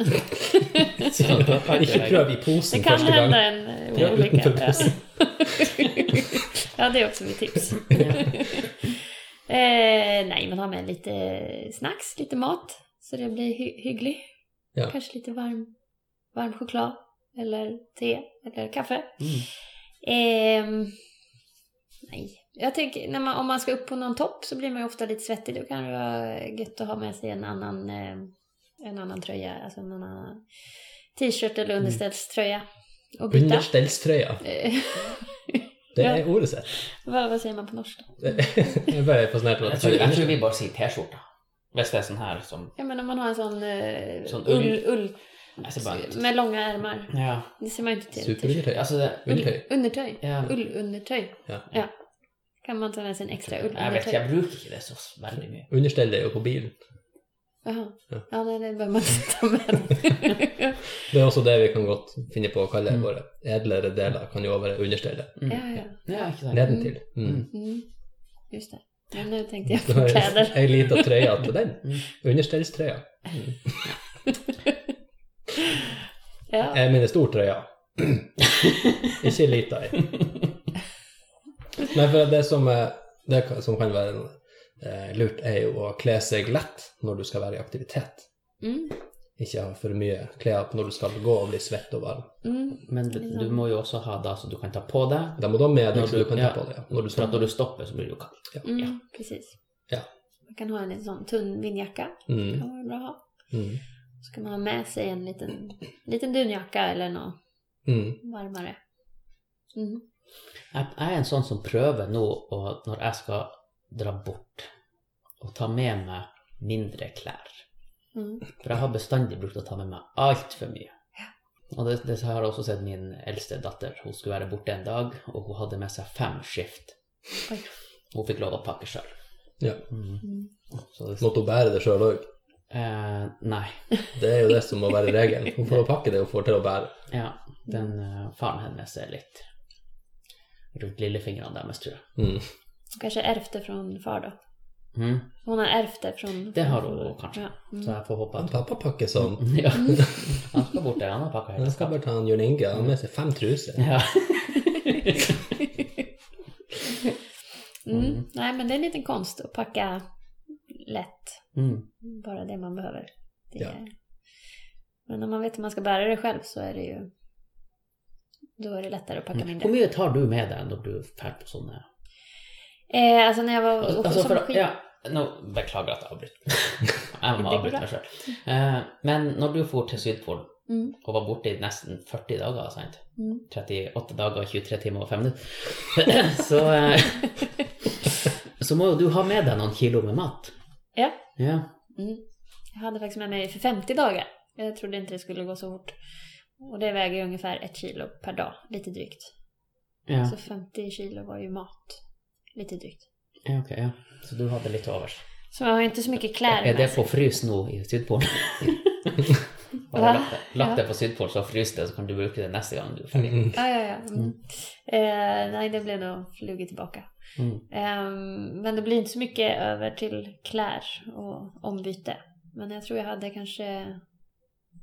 A: Ikke prøv i posen
C: Det kan
A: første gang.
C: hända en eh,
A: Ja,
C: olycka.
A: utanför
C: Ja.
A: bussen.
C: ja, det är också mitt tips. Eh, nej, men ha med lite snacks, lite mat. Så det blir hy hygglig.
A: Ja.
C: Kanske lite varm, varm choklad. Eller te. Eller kaffe.
B: Mm.
C: Ehm, nej. Jag tänker, när man, om man ska upp på någon topp så blir man ju ofta lite svettig. Då kan det vara gött att ha med sig en annan, eh, en annan tröja. Alltså en annan t-shirt
B: Mm.
C: eller underställströja. Och byta.
A: Understellstrøya.
C: Eh,
A: Det
C: Ja.
A: er ordet sitt.
C: vad, vad säger man på norska?
A: Jeg ble fascinert av
B: Jeg
A: at
B: tror,
A: det
B: jeg tror vi bare sier T-skjorta. Hvis det er sånn her som
C: Ja men om man har en sån, eh,
B: Sån ull.
C: ull, ull
B: Jeg ser bare ut.
C: med långa ärmar.
B: alltså Ja,
C: Det ser man ju inte till.
A: Superundertøy.
B: altså det
A: Undertøy.
C: Ull- Undertöj.
B: ja,
C: Ullundertöj.
A: Ja.
C: ja. Kan man ta med sig en extra
B: Jeg vet ikke,
C: ullundertöj?
B: jeg bruker ikke det så veldig mye.
A: Understell det jo på bilen.
C: Jaha.
A: Ja.
C: Ja, nej, det behöver man inte ta med.
A: Det er også det vi kan godt finne på å kalle
B: Mm.
A: våre edlere deler, kan jo også være understellet.
B: Mm.
C: ja, ja.
B: Ja, ikke sant.
A: Nedentil. Mm.
C: Mm. Just det. Ja, nu tänkte jag
A: Da
C: på
A: er
C: kläder.
A: ei lita trøye til den.
B: Mm.
A: Understellstrøya.
C: Ja,
A: Jeg mener Äh, stor trøya. Ikke lita ei. Nei, for det som, eh, det ka- som kan være eh, lurt, er jo å kle seg lett når du skal være i aktivitet.
C: mm,
A: Ikke ha for mye klær på når du skal gå og bli svett og varm.
C: mm,
B: Men du du må jo også ha da så du kan ta på deg.
A: Da må du ha med deg
B: Når
A: så du
B: du-
A: kan ta
B: ja.
A: på det. Ja. Når du
B: For at
A: skal.
B: når du stopper, så blir du kald.
C: mm, precis.
A: Ja.
C: Man kan ha en sån tunn vindjacka. Det
A: Mm,
C: kan vara bra att ha.
A: mm,
C: Så kan man ha med sig en liten, liten dunjacka eller något
A: mm.
C: varmare. Mm.
B: Jeg jeg er en sånn som prøver nå, å- når jeg skal dra bort, å ta med meg mindre klær.
C: Mm.
B: For jeg har bestandig brukt å ta med meg altfor mye. Og det, det har jeg også sett min eldste datter. Hun skulle være borte en dag, og hun hadde med seg fem skift.
C: Oi.
B: Hun fikk lov å pakke sjøl.
A: Ja.
C: Mm.
B: Så det,
A: Måtte hun bære det sjøl òg?
B: eh, nei.
A: Det er jo det som må være regelen. Hun får å pakke det hun får til å bære.
B: Ja, den eh, faren hennes er litt rundt lillefingrene deres, tror jeg.
A: Mm.
C: Hon kanske ärvde från far då.
B: Mm.
C: Hon har ärvt det från...
B: Det har hon kanske.
C: Ja.
B: Så
C: Mm.
B: jeg får håpe
A: Han
B: at
A: pappa pakker sånn.
B: ja. Han skal bort der, han har pakka hele
A: Jeg skal bare ta en Jørn Inge. Han har med seg fem truser.
B: Ja.
C: Mm.
B: Mm.
C: Nej, men det är en liten konst att packa lätt.
B: Mm.
C: Bara det man behöver. Det
A: Ja.
C: är... Men om man vet hur man ska bära det själv så är det ju... Då är det lättare att packa mindre.
B: Hvor mye tar du med deg når du drar på sånne
C: Eh, alltså när jag var åkte
B: Altså,
C: som
B: for,
C: skid...
B: ja, nå beklager at jeg avbryter. Jeg må
C: går
B: avbryte
C: bra.
B: meg sjøl. Eh, Men når du for til Sydpolen
C: Mm.
B: og var borte i nesten 40 dager, sant?
C: Mm.
B: 38 dager, 23 timer og 5 minutter, så, eh, så må jo du ha med deg noen kilo med mat.
C: Ja.
B: Ja.
C: Mm. Jag hade faktiskt med mig för 50 dagar. Jag trodde inte det skulle gå så fort. Och det väger ju ungefär ett kilo per dag, lite drygt.
B: Ja,
C: Så 50 kilo var ju mat, lite drygt.
B: ja, ok, ja. Så du hadde litt overs.
C: Så man har ju inte så mycket kläder
B: Er det
C: med sig.
B: på frys nå i Sydpolen?
C: Hva?
B: Bare lagt det, lagt det på Sydpolen, så frys det, så kan du bruke det neste gang du er ferdig.
A: Mm.
C: Ja, ja, ja. Mm. Eh, nej, det blev nog flugit tillbaka.
B: Mm.
C: Ehm, men det blir inte så mycket över till klär och ombyte. Men jag tror jag hade kanske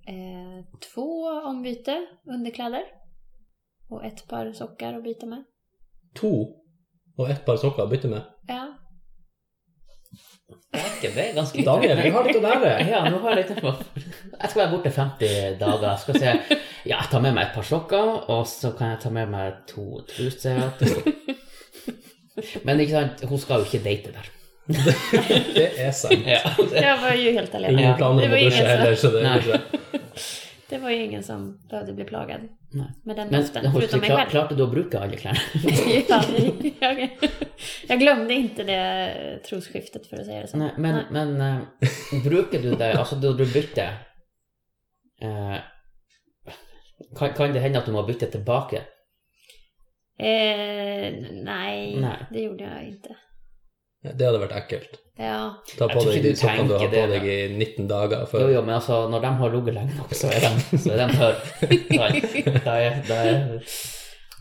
C: eh, två ombyte underkläder. Och ett par sockar att byta med.
A: To og ett par sokker å bytte med.
C: Ja,
B: Det er ikke- det er ganske lite.
A: Daniel, du har litt å lære!
B: Ja, nå har jeg litt på. Jeg skal være borte 50 dager. Jeg skal se Ja, jeg tar med meg et par sokker, og så kan jeg ta med meg to truser. To. Men ikke sant, hun skal jo ikke date der.
A: Det är sant.
B: Ja.
C: Jag var ju helt alene.
A: Ingen
B: Ja.
A: planer
C: Det
A: på
C: var
A: att
C: ingen
A: duscha
C: så.
A: heller. Så det, är
B: Nej.
A: liksom-
C: Det var ju ingen som behövde bli plagad
B: Nej.
C: med den
B: Men
C: doften, förutom mig
B: klar,
C: själv.
B: klarte du att bruka alla kläderna?
C: Fan, jag, jag glömde inte det trosskiftet för att säga det så.
B: Nej, men,
C: Nej.
B: men eh, brukar du det, alltså då du bytte, eh, kan, kan det hända att du må bytte tillbaka?
C: Eh, nej,
B: Nej.
C: det gjorde jag inte.
A: det hade varit äckelt.
C: Ja,
A: Ta
B: Jag
A: på
B: tycker
A: dig
B: du
A: den soppan du har
B: tänker
A: på
B: det,
A: dig i 19 dagar.
B: Jo,
A: För,
B: jo, men alltså när de har ligget länge nog så är de, så är de tørr. Da er- Da är- da är-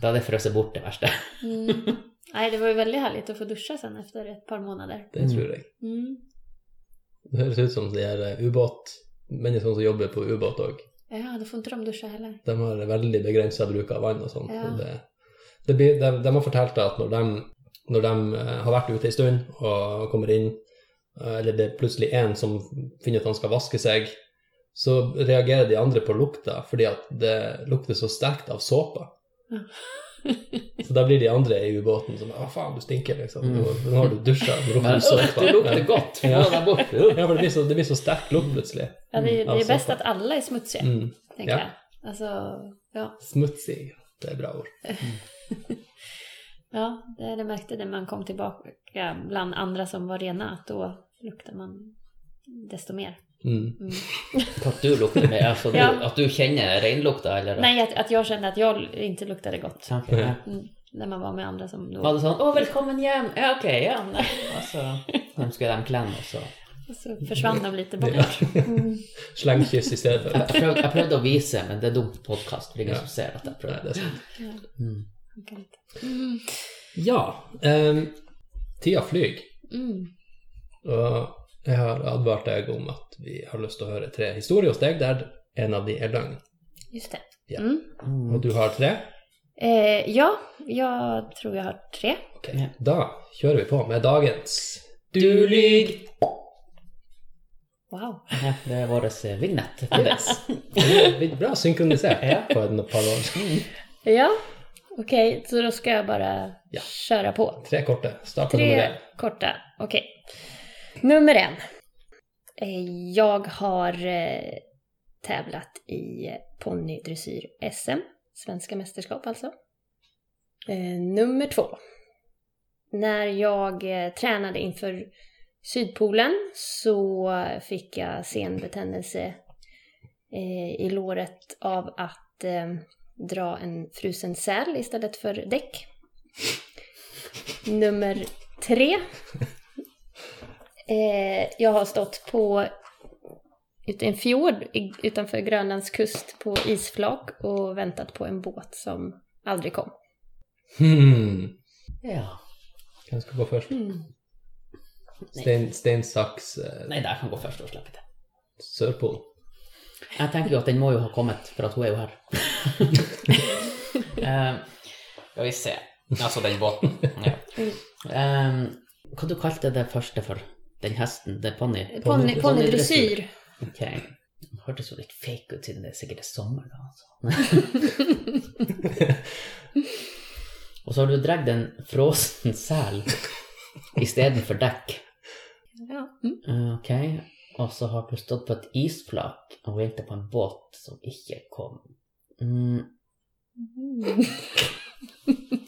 B: da är det frosset bort det värsta.
C: mm. nej, det var ju väldigt härligt att få duscha sen efter ett par månader.
A: det tror jag.
C: Mm.
A: Det høres ut som de her eh, ubåt, menneskene som jobber på ubåt òg.
C: Ja, då får inte de duscha heller.
A: De har veldig begrensa bruk av vann og sånn.
C: Ja.
A: Og Det, det blir, de, de har fortalt at når de, når de eh, har vært ute en stund og kommer inn, eh, eller det er plutselig en som finner ut at han skal vaske seg, så reagerer de andre på lukta fordi at det lukter så sterkt av såpe.
C: Ja.
A: Så da blir de andre i ubåten sånn Å, faen, du stinker, liksom.
B: Mm.
A: Nå, nå har du dusja. Nå
B: Men
A: lukter du
B: øh,
A: såpe.
B: det lukter
A: Ja.
B: godt! Få
A: Ja.
B: deg bort! øh.
A: Ja, for det blir så, det blir så sterk lukt plutselig.
C: Ja, det,
A: Mm,
C: det är
A: alltså.
C: bäst att alla är smutsiga,
A: Mm.
C: tänker
A: Ja.
C: jag. Alltså, ja,
A: Smutsig. Det är bra ord.
C: ja det, det märkte det när man kom tillbaka bland andra som var rena, att då luktar man desto mer.
A: Mm.
C: Mm.
B: At du lukter mer, altså du,
C: Ja.
B: at du kjenner reinlukta, eller?
C: Nej, att, att jag kände att jag inte luktade gott
B: Så, ok, ja.
C: mm. när man var med andra som då.
B: Var det sånn 'Å, velkommen hjem'? Ja, ok, ja. Nei. Altså, Alltså, de skulle dem klemme, og så
C: Och så försvann de lite bort.
A: Ja.
C: Mm.
A: Slangkyss i stedet for.
B: Jeg prøvde, jeg prøvde å vise, men det er dumt podkast. Det er ingen
A: Ja.
B: som ser at jeg
A: Nei,
B: prøver.
A: det er sant.
B: Mm.
C: funkar inte. Mm.
A: Ja. ehm, tida flyr.
C: Mm.
A: Og jeg har advart deg om at vi har lyst til å høre tre historier hos deg der en av de er løgn.
C: Just det.
A: Ja.
C: Mm.
B: Mm.
A: Og du har tre?
C: Eh, ja, jag tror jag har tre.
A: Ok.
B: Ja.
A: Da kjører vi på med dagens
B: Du lyg!
C: Wow.
B: Ja, det er vår eh, vignett.
A: Yes. Det er blitt bra synkronisert
B: Ja.
A: på en par år.
C: Ja, okej, så då ska jag bara
A: Ja.
C: köra på.
A: Tre korte. Start med nummer
C: Tre
A: én.
C: korta, okej. Nummer en. Eh, Jag har eh, tävlat i ponnydressyr SM, svenska mästerskap alltså. Eh, nummer två. När jag eh, tränade inför Sydpolen så fick jag senbetändelse eh, i låret av att eh, dra en frusen säl istället för däck. Nummer tre. Eh, jag har stått på ute i en fjord i- utanför Grönlands kust på isflak och väntat på en båt som aldrig kom.
A: Hmm.
B: Ja.
A: Hvem skal gå først?
B: Mm.
A: Stein, stein saks, eh,
B: Nei, jeg kan gå først og slippe det.
A: Sørpolen.
B: Jeg tenker jo at den må jo ha kommet, for at hun er jo her. Eh, Skal vi se. Altså den båten. Ja. Um, hva du kalte du det første for? Den hesten? Det er ponni?
C: Ponny-
B: Ponnydressyr.
C: Ponnydressyr.
B: Ok. Det hørtes jo litt fake ut siden det sikkert er sommer da. Altså. og så har du dratt en frossen sel istedenfor dekk.
C: Ja. Mm.
B: Eh, Ok. Og så har du stått på et isflak og venta på en båt som ikke kom. Mm. Åh,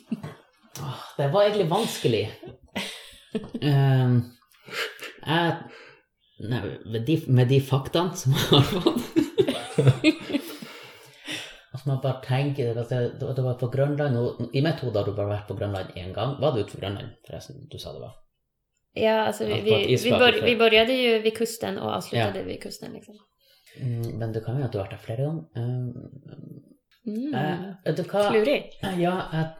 B: Ah, Det var egentlig vanskelig. Eh, jeg Nei, med de, med de faktaene som jeg har fått Altså, man bare tenker at det, det var på Grønland og I mitt hode har du bare vært på Grønland én gang. Var du utenfor Grønland, forresten? Du sa det var?
C: Ja, alltså vi,
B: Att på ett
C: vi, vi,
B: isflak
C: bör,
B: för-
C: vi började ju vid kusten och avslutade vid kusten. Liksom.
B: Mm, men det kan jo at du har vært der flere ganger. Um,
C: Mm.
B: eh, vet du hva?
C: Klurig.
B: Ja, jeg,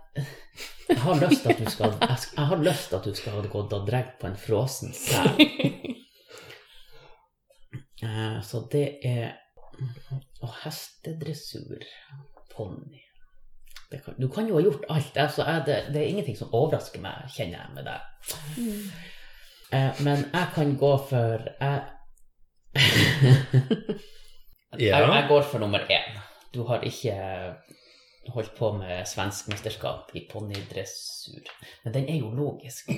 B: jeg har lyst til at du skal Jeg, sk- jeg har lyst til at du skal ha gått og dratt på en frossen sel. Eh, Så det er Og hestedressur, ponni Det kan- Du kan jo ha gjort alt. Altså, jeg, det, det er ingenting som overrasker meg, kjenner jeg med deg.
C: Mm.
B: Eh, Men jeg kan gå eh, for jeg, jeg, jeg
A: Ja.
B: går for nummer én. Du har ikke holdt på med svensk mesterskap i ponnidressur. Men den er jo logisk.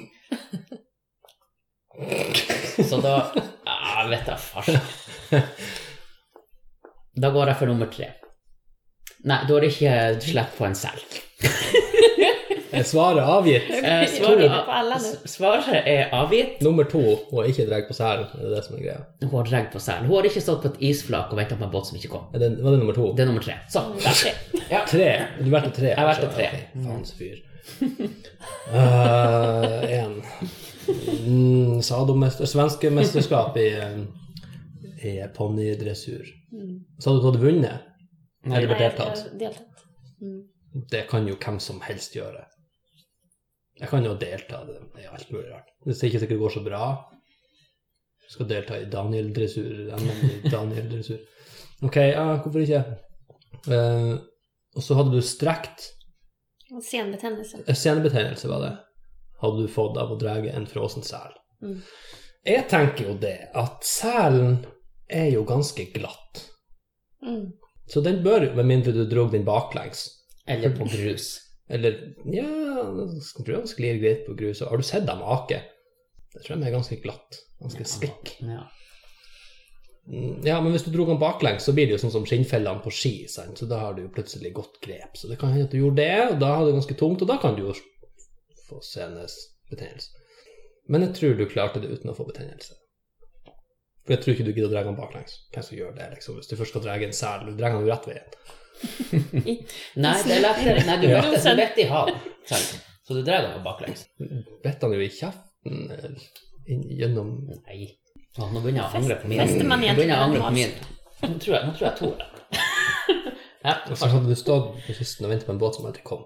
B: Så da ah, Vet da farsan. Da går jeg for nummer tre. Nei, da er det ikke slipp på en sel.
A: Er svaret avgitt?
B: Eh,
C: Svaret
B: svaret,
C: på alla nu.
B: s- svaret er avgitt.
A: Nummer to hun har ikke dreg på særen. Det er det som er greia.
B: Hun har dratt på sel. Hun har ikke stått på et isflak og venta på en båt som ikke kom.
A: Er det, var det nummer to?
B: Det er nummer tre. Så,
C: Mm.
B: der. Ja.
A: Tre. Du valgte tre?
B: Jeg valgte tre. Mm.
A: Ok, Faens fyr. Én. Mm, sadomester- Svenske mesterskap i, eh, i ponnidressur. Sa du at du hadde vunnet?
B: Nei.
A: Eller
C: Mm. Nej, jag har
A: deltatt?
C: deltagit. Mm.
A: Det kan jo hvem som helst gjøre. Jeg kan jo delta det er alt mulig rart. Hvis det ikke sikkert går så bra, jeg skal delta i Daniel-dressur, NM i Daniel-dressur. Ok, ja, hvorfor ikke? Eh, og så hadde du strekt
C: Och Senbetändelse.
A: senebetennelse, var det. Hadde du fått av å dra en frossen sel.
C: Mm.
A: Jeg tenker jo det, at selen er jo ganske glatt.
C: Mm.
A: Så den bør jo, med mindre du drog den baklengs,
B: Eller på grus.
A: Eller ja, jeg tror han sklir greit på grus. Har du sett dem ake? Jeg tror de er ganske glatt. Ganske spikk.
B: Ja.
A: Mm, Ja, men hvis du dro den baklengs, så blir det jo sånn som skinnfellene på ski, sant? så da har du jo plutselig godt grep. Så det kan hende at du gjorde det, og da har du ganske tungt, og da kan du jo få senesbetennelse. Men jeg tror du klarte det uten å få betennelse. For jeg tror ikke du gidder å dra den baklengs. Hvem som gjør det, liksom? Hvis du først skal dra en sel, du drar den jo rett veien.
B: Nei, det er lettere. Nei, du
A: Ja.
B: vet det som vett i havet. sant? Så du drar deg baklengs.
A: Vet han jo i kjeften, eller inn- gjennom
B: Nei. Å, nå begynner jeg å angre på min.
C: Fester man
B: Nå begynner jeg å angre
C: egentlig
B: på min. Nå tror jeg, nå tror jeg to da.
A: Og så hadde du stått på kysten og ventet på en båt som aldri kom.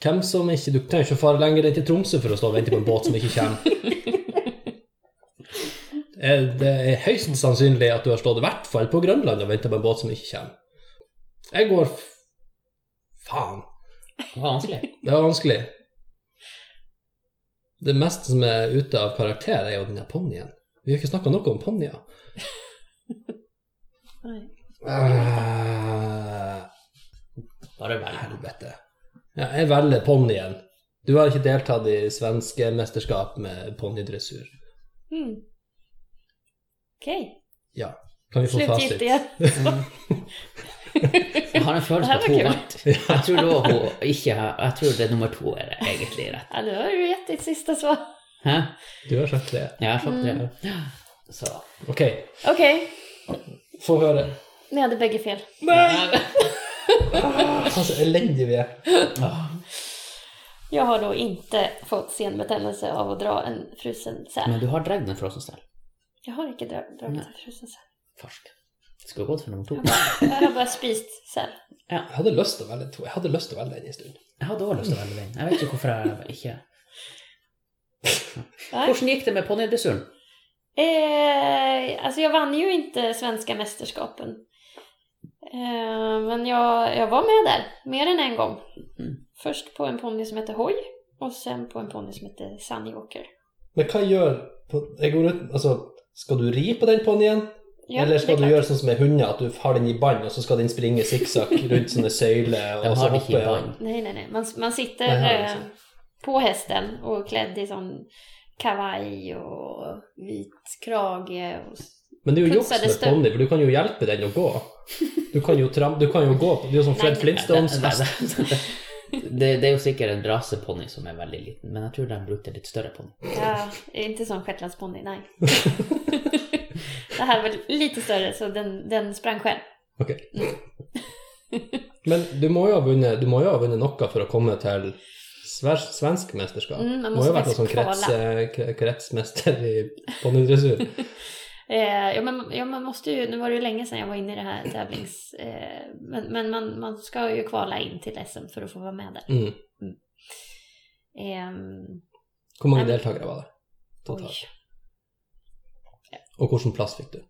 A: Hvem som ikke, Du trenger ikke å fare lenger enn til Tromsø for å stå og vente på en båt som ikke kommer. Eh, Det er høyst sannsynlig at du har stått i hvert fall på Grønland og venta på en båt som ikke kommer. Jeg går f... Faen.
B: Det var vanskelig.
A: Det var vanskelig. Det meste som er ute av karakter, er jo den der ponnien. Vi har ikke snakka noe om ponnier.
C: Nej.
A: Eh,
B: Bare velg.
A: Helvete. Ja, jeg velger ponnien. Du har ikke deltatt i svenske mesterskap med ponnidressur.
C: Mm. Okej,
A: Ja. Kan vi få fasit?
C: slutgiltiga.
B: Jeg har en følelse på at
C: Mm. Det her var
B: hun vant. Jeg tror da hun ikke har Jeg tror det er nummer to er det egentlig rett.
C: Ja, nu har du gett ditt sista svar.
B: Hæ?
A: Du har sagt det.
B: Ja, jeg skjønte
C: Mm.
B: det. Så
A: Ok,
C: Okej,
A: få høre.
C: ni hade bägge fel.
A: Faen, så elendige Alltså, vi er.
C: Jag har då inte fått senbetändelse av att dra en frusen säl.
B: Men du har dratt den frossen selv.
C: Jag har inte dra- dragit en frusen säl.
B: Farsk. Skulle gått for nummer to.
C: Jag har bara spist säl.
A: Jeg hadde lyst til å velge to. Jeg hadde lyst til å velge den en stund.
B: Jeg hadde også lyst til å velge den. Jeg vet ikke hvorfor jeg ikke
C: Nej.
B: Hvordan gikk det med ponnidressuren?
C: Eh, alltså jag vann ju inte svenska mästerskapen. Eh, men jag, jag var med där, mer än en gång.
B: Mm.
C: Först på en ponny som hette Hoj och sen på en ponny som hette Sunnyåker.
A: Men hva gjør på- jeg går ut, altså, Skal du ri på den ponnien?
C: Ja,
A: Eller skal
C: det
A: du
C: är klart.
A: gjøre sånn som med hunder, at du har den i bånd, og så skal den springe sikksakk rundt sånne søyler?
B: De
A: og så
B: har det ikke
A: hoppe,
B: i
A: ja.
B: bånd.
C: Nej, nej, nej. Man, man sitter
A: Nej, här
C: eh,
A: också.
C: på hästen och klädd i sån kavaj och vit krage. Och... s-
A: Men det er jo juks
C: Putsade
A: med
C: støv.
A: ponni, for du kan jo hjelpe den å gå. Du kan jo, tram, du kan jo gå på Det er jo sånn Fred
C: Nei,
A: Flintstones
B: Nei,
A: hest.
B: det, det, det er jo sikkert en raseponni som er veldig liten, men jeg tror de brukte litt større ponni.
C: Ja, inte som shetlandsponny, nej. det här var lite större så den, den sprang själv.
A: Ok. Men du må jo ha vunnet, du må jo ha vunnet noe for å komme til sver, svensk mesterskap.
C: Mm, man
A: må jo
C: måste
A: ha vært noen sånn krets,
C: faktiskt
A: eh, kre- kretsmester i Mm. ponnidressur.
C: Eh, ja, men, ja, man måste ju, nu var det ju länge sedan jag var inne i det här tävlings... Eh, men men man, man ska ju kvala in till SM för att få vara med där.
A: Mm.
C: Ehm,
A: Hvor mange
C: Nei, men-
A: deltakere var det?
C: oj.
A: Totalt. Og hvilken plass fikk du?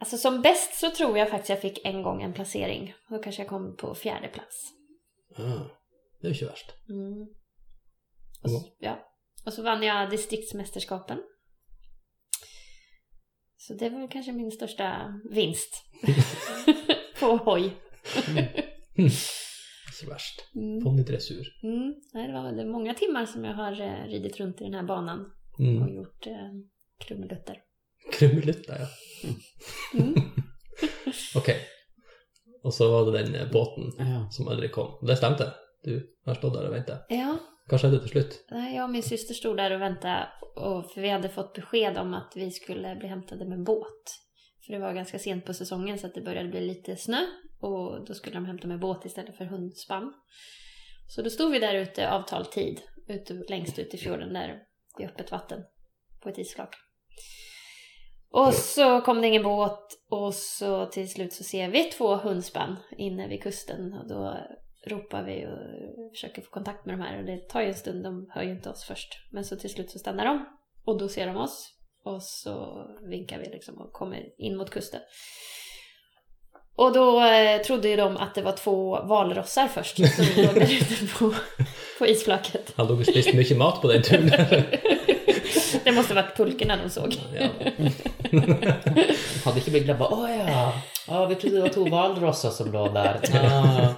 C: Alltså som bäst så tror jag faktiskt jag fick en gång en placering. Då kanske jag kom på fjärde plats.
A: Ah, det er jo ikke verst.
C: Mm. Och, så, ja. och så vann jag distriktsmästerskapen. Så det var väl kanske min största vinst. på hoj.
A: Ikke verst.
C: Mm.
A: Ponnidressur.
C: Mm. Nej, det var det är många timmar som jag har eh, ridit runt i den här banan. och
A: Mm.
C: gjort eh, krumelutter.
A: Krumelutta, ja.
C: Mm.
A: Okej. Och så var det den eh, båten
B: Ja.
A: som aldrig kom. Det stämde. Du har stått där och väntat.
C: Ja,
A: Vad skedde till slut?
C: nej, jag och min syster stod där och väntade och, för vi hade fått besked om att vi skulle bli hämtade med båt. För det var ganska sent på säsongen så att det började bli lite snö och då skulle de hämta med båt istället för hundspann. Så då stod vi där ute avtal tid, ute, längst ut i fjorden där i öppet vatten på ett isflak. Och så kom det ingen båt och så till slut så ser vi två hundspann inne vid kusten och då ropar vi och försöker få kontakt med de här och det tar ju en stund, de hör ju inte oss först. Men så till slut så stannar de och då ser de oss och så vinkar vi liksom och kommer in mot kusten. Och då eh, trodde ju de att det var två valrossar först som låg där ute på, på isflaket.
A: Han låg och spist mycket mat på den turen.
C: Det måste varit pulkorna de såg.
A: ja.
B: Hadde ikke blitt glad. Å ja! Å, vi trodde det var to hvalrosser som lå der. Ah.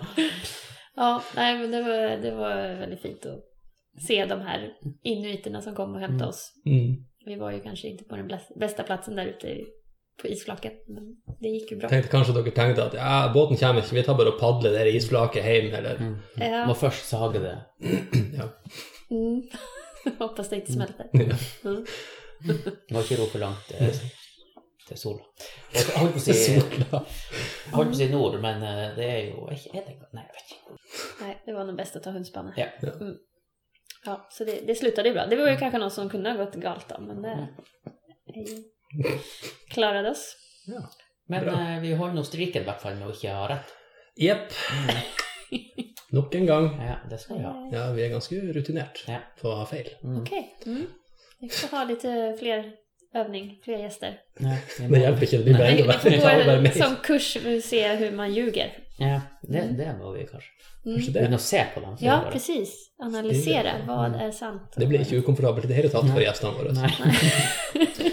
C: Ja, nej men det var, det var väldigt fint att se de här inuiterna som kom och hämtade oss.
A: mm.
C: Vi var ju kanske inte på den bläs- bästa platsen där ute i- på isflaket, men det gick ju bra.
A: Tänkte kanske dere tänkte att ja, båten kommer inte, vi tar bara och paddlar det här isflaket hem eller...
C: Ja,
B: Må først sage det.
A: Ja.
C: Eh, mm. Hoppas det inte smälter.
A: Ja.
C: Mm.
B: Må ikke ro for langt eh, til sola. Jeg holdt på å si, jeg holdt på å si nord, men eh, det er jo ikke- er det, Nei, jeg vet ikke.
C: Nej, det var nog bäst att ta hundspannet.
B: Ja.
C: Mm. Ja, så det, det slutade ju bra. Det var ju kanske någon som kunde ha gått galt då, men det eh, klarade oss.
A: Ja.
B: Men
A: Bra.
B: eh, vi holder nå striken i hvert fall med å ikke ha rett.
A: Jepp. Nok en gång.
B: Ja, det skal vi ha.
C: Eh,
A: Ja, vi är ganska rutinerat
B: Ja.
A: på att ha fel.
B: Mm.
C: Okej, mm. vi får ha lite fler övning, fler gäster.
B: Ja, vi må-
A: Det hjälper inte, det blir bara
C: Vi,
A: ändå
C: vi
A: värre. Vi
C: får
A: talar
C: gå
A: bara
C: en
A: med.
C: som kurs för att se hur man ljuger.
B: Ja, det, det må vi kanskje.
C: Mm.
A: Kanske
B: Begynne
A: det.
B: å se på dem. så
C: Ja,
B: bare-
C: precis. Analysera, vad är sant?
A: Det blir inte okomfortabelt i det hela taget för
B: Nej.
A: gästerna våra.
B: Nei.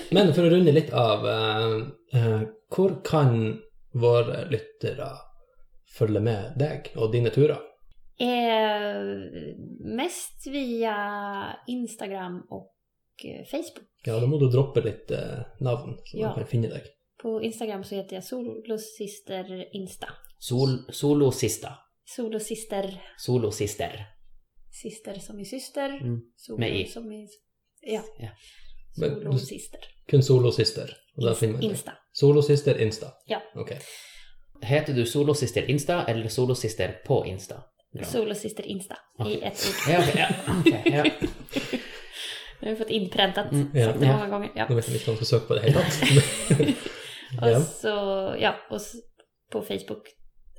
A: Men för att runda lite av, eh, hur kan våra lyttare följa med dig och dina turer?
C: Eh, mest via Instagram och eh, Facebook.
A: Ja, då måste du droppa lite eh, namn så
C: Ja.
A: man kan finna dig.
C: På Instagram så heter jag Solosister Insta.
B: Sol, solosista.
C: Solosister,
B: Solosister.
C: sister som i syster.
B: Mm.
C: Solo
B: Med i.
C: som i... Ja.
B: Ja.
A: Men-
C: Solosister.
A: Kun Solosyster. Och där finner man dig.
C: Insta.
A: Solosyster Insta.
C: Ja.
A: Okej.
B: Heter du Solosister Insta eller Solosister på Insta? Ja.
C: Solosister Insta. I
B: Okej.
C: ett ord.
B: Ja, okej, ja, okej, ja.
C: Nu har vi fått inpräntat.
B: Mm,
A: ja,
C: sagt det
B: ja.
C: många gånger. Ja.
A: Nu vet jag inte om jag ska söka på det hela.
C: Och
A: Ja.
C: så, ja, och s- på Facebook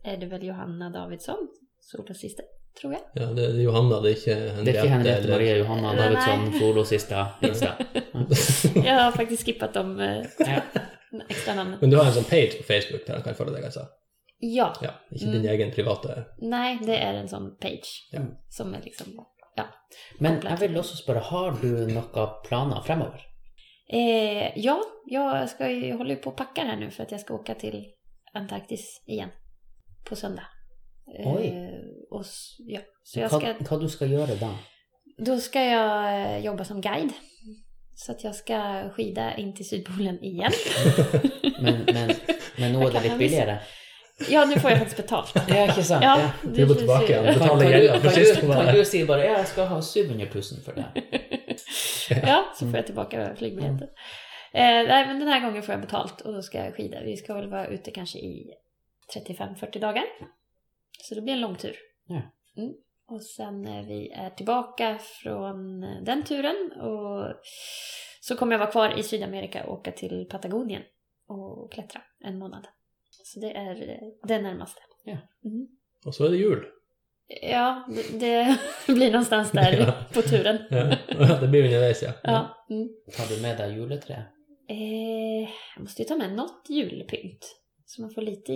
C: är det väl Johanna Davidsson, solosister, tror jag.
A: ja, det är Johanna, det är inte
B: Det er
A: Henriette.
B: ikke Henriette
A: eller-
B: Maria Johanna
C: Nei,
B: Davidsson,
C: nei.
B: Solosista Insta.
C: Jag har faktiskt skippat de eh,
B: Ja.
C: extra namnen.
A: Men du har en sån page på Facebook där man kan följa dig alltså?
C: Ja,
A: Ja, inte
C: Mm.
A: din egen privata.
C: nej, det är en sån page
A: Ja.
C: som är liksom...
B: Men jeg vil også spørre, har du noen planer fremover?
C: Eh, ja, jag, ska, ju- jag håller ju på och packar här nu för att jag ska åka till Antarktis igen på söndag. Eh,
B: Oj.
C: och, s- ja, så jag
B: Hva,
C: ska...
B: hva du skal gjøre da?
C: Då ska jag eh, jobba som guide. Så att jag ska skida in till Sydpolen igen.
B: Men, men, men nå er det litt billigere?
C: Ja, nu får jag faktiskt betalt.
B: Ja, ikke sant?
C: Ja,
B: Ja.
A: Vi går tillbaka
C: känns ju-
A: igen.
B: Kan, kan,
A: Betaler
B: du,
A: gjelda
B: kan,
A: precis
B: du,
A: vad det
B: kan
A: är.
B: du si bare ja, 'jeg skal ha 700 000 for det'?
C: Ja, så får jag tillbaka flygbiljetter. Eh, nej, men den här gången får jag betalt och då ska jag skida. Vi ska väl vara ute kanske i 35-40 dagar. Så det blir en lång tur.
B: Ja.
C: Mm. Och sen eh, vi är tillbaka från eh, den turen och så kommer jag vara kvar i Sydamerika och åka till Patagonien och klättra en månad. Så det är eh, det närmaste.
A: Och så är det jul.
C: Ja, det, det blir någonstans där
A: Ja.
C: på turen.
A: Ja. Det blir underveis, ja.
C: Ja. Mm.
B: Tar du med deg juletre?
C: Eh, jag måste ju ta med något julpynt. Så man får lite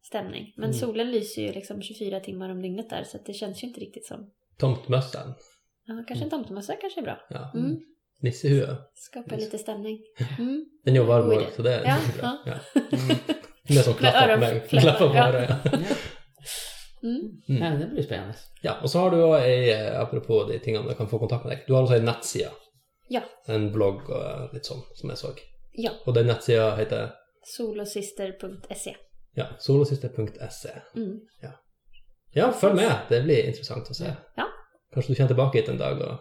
C: julstämning. Men
B: Mm.
C: solen lyser ju liksom 24 timmar om dygnet där så att det känns ju inte riktigt som...
A: Tomtmössan.
C: Ja, kanske en tomtemössa kanske är bra.
A: Ja.
C: Mm.
A: Nissehue.
C: Skapa lite stämning. Mm.
A: Den är ju varm
C: God
A: också,
C: idé.
A: så det är
C: Ja,
A: inte så bra.
C: ja.
A: Ja. Det är som klappar på mig.
C: öronfläppar,
A: Klappar på
C: ja.
A: öronen.
C: Mm.
B: Ja, men det blir spennende.
A: Ja, och så har du ju, eh, apropå de tingarna man kan få kontakt med dig, du har också alltså en nettsida
C: Ja.
A: En blogg og litt sånn, som jeg så.
C: Ja.
A: Og den nettsida heter
C: Solosister.se.
A: ja, solosister.se.
C: Mm.
A: Ja, følg med. Det blir interessant å se.
C: Ja.
A: Kanskje du kommer tilbake hit en dag, og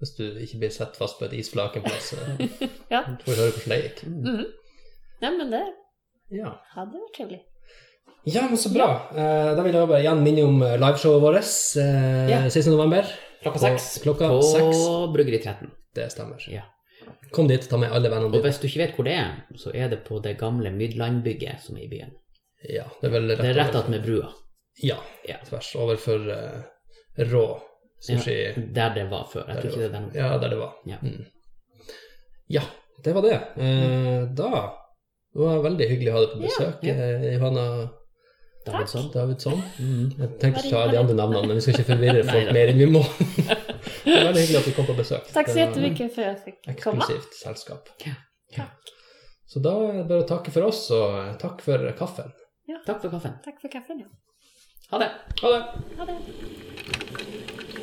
A: hvis du ikke blir sett fast på et isflak en plass, så
C: Ja.
A: får vi høre hvordan det gikk.
B: Mm.
C: Mm. Nej, men det
A: Ja.
C: hade varit trevligt.
A: ja, men så bra. Eh, Da vil jeg bare igjen minne om eh, liveshowet vårt eh,
B: Ja.
A: 16. november.
B: Klokka seks
A: Klokka
B: på
A: seks.
B: Bryggeri 13.
A: Det stemmer.
B: Ja.
A: Kom dit, ta med alle vennene
B: Og
A: dine.
B: hvis du ikke vet hvor det er, så er det på det gamle Mydlandbygget som er i byen.
A: Ja, det er vel rett,
B: Det er rett
A: over-
B: attmed brua,
A: Ja,
B: Ja.
A: tvers overfor eh, rå sushi.
B: der det var før. Jeg tror ikke det er der nå.
A: Ja, der det var.
B: Ja.
A: Mm. ja det var det. Eh, da det var veldig hyggelig å ha deg på besøk,
B: ja.
A: eh, Johanna
B: Davidsson.
A: Davidsson.
B: Mm.
A: Jeg tenkte ikke ta de andre navnene, men vi skal ikke forvirre
B: Nei,
A: folk
B: da.
A: mer enn vi må. det var veldig hyggelig at du kom på besøk.
C: Tack så
A: Det var
C: jättemycket för att jag fick komma.
A: Eksklusivt selskap.
B: Ja.
C: Tack.
A: Så da er det bare å takke for oss, og eh, takk for kaffen.
B: Takk for kaffen.
C: Tack för kaffet.
B: Ha det.
A: Ha det!
C: Ha det.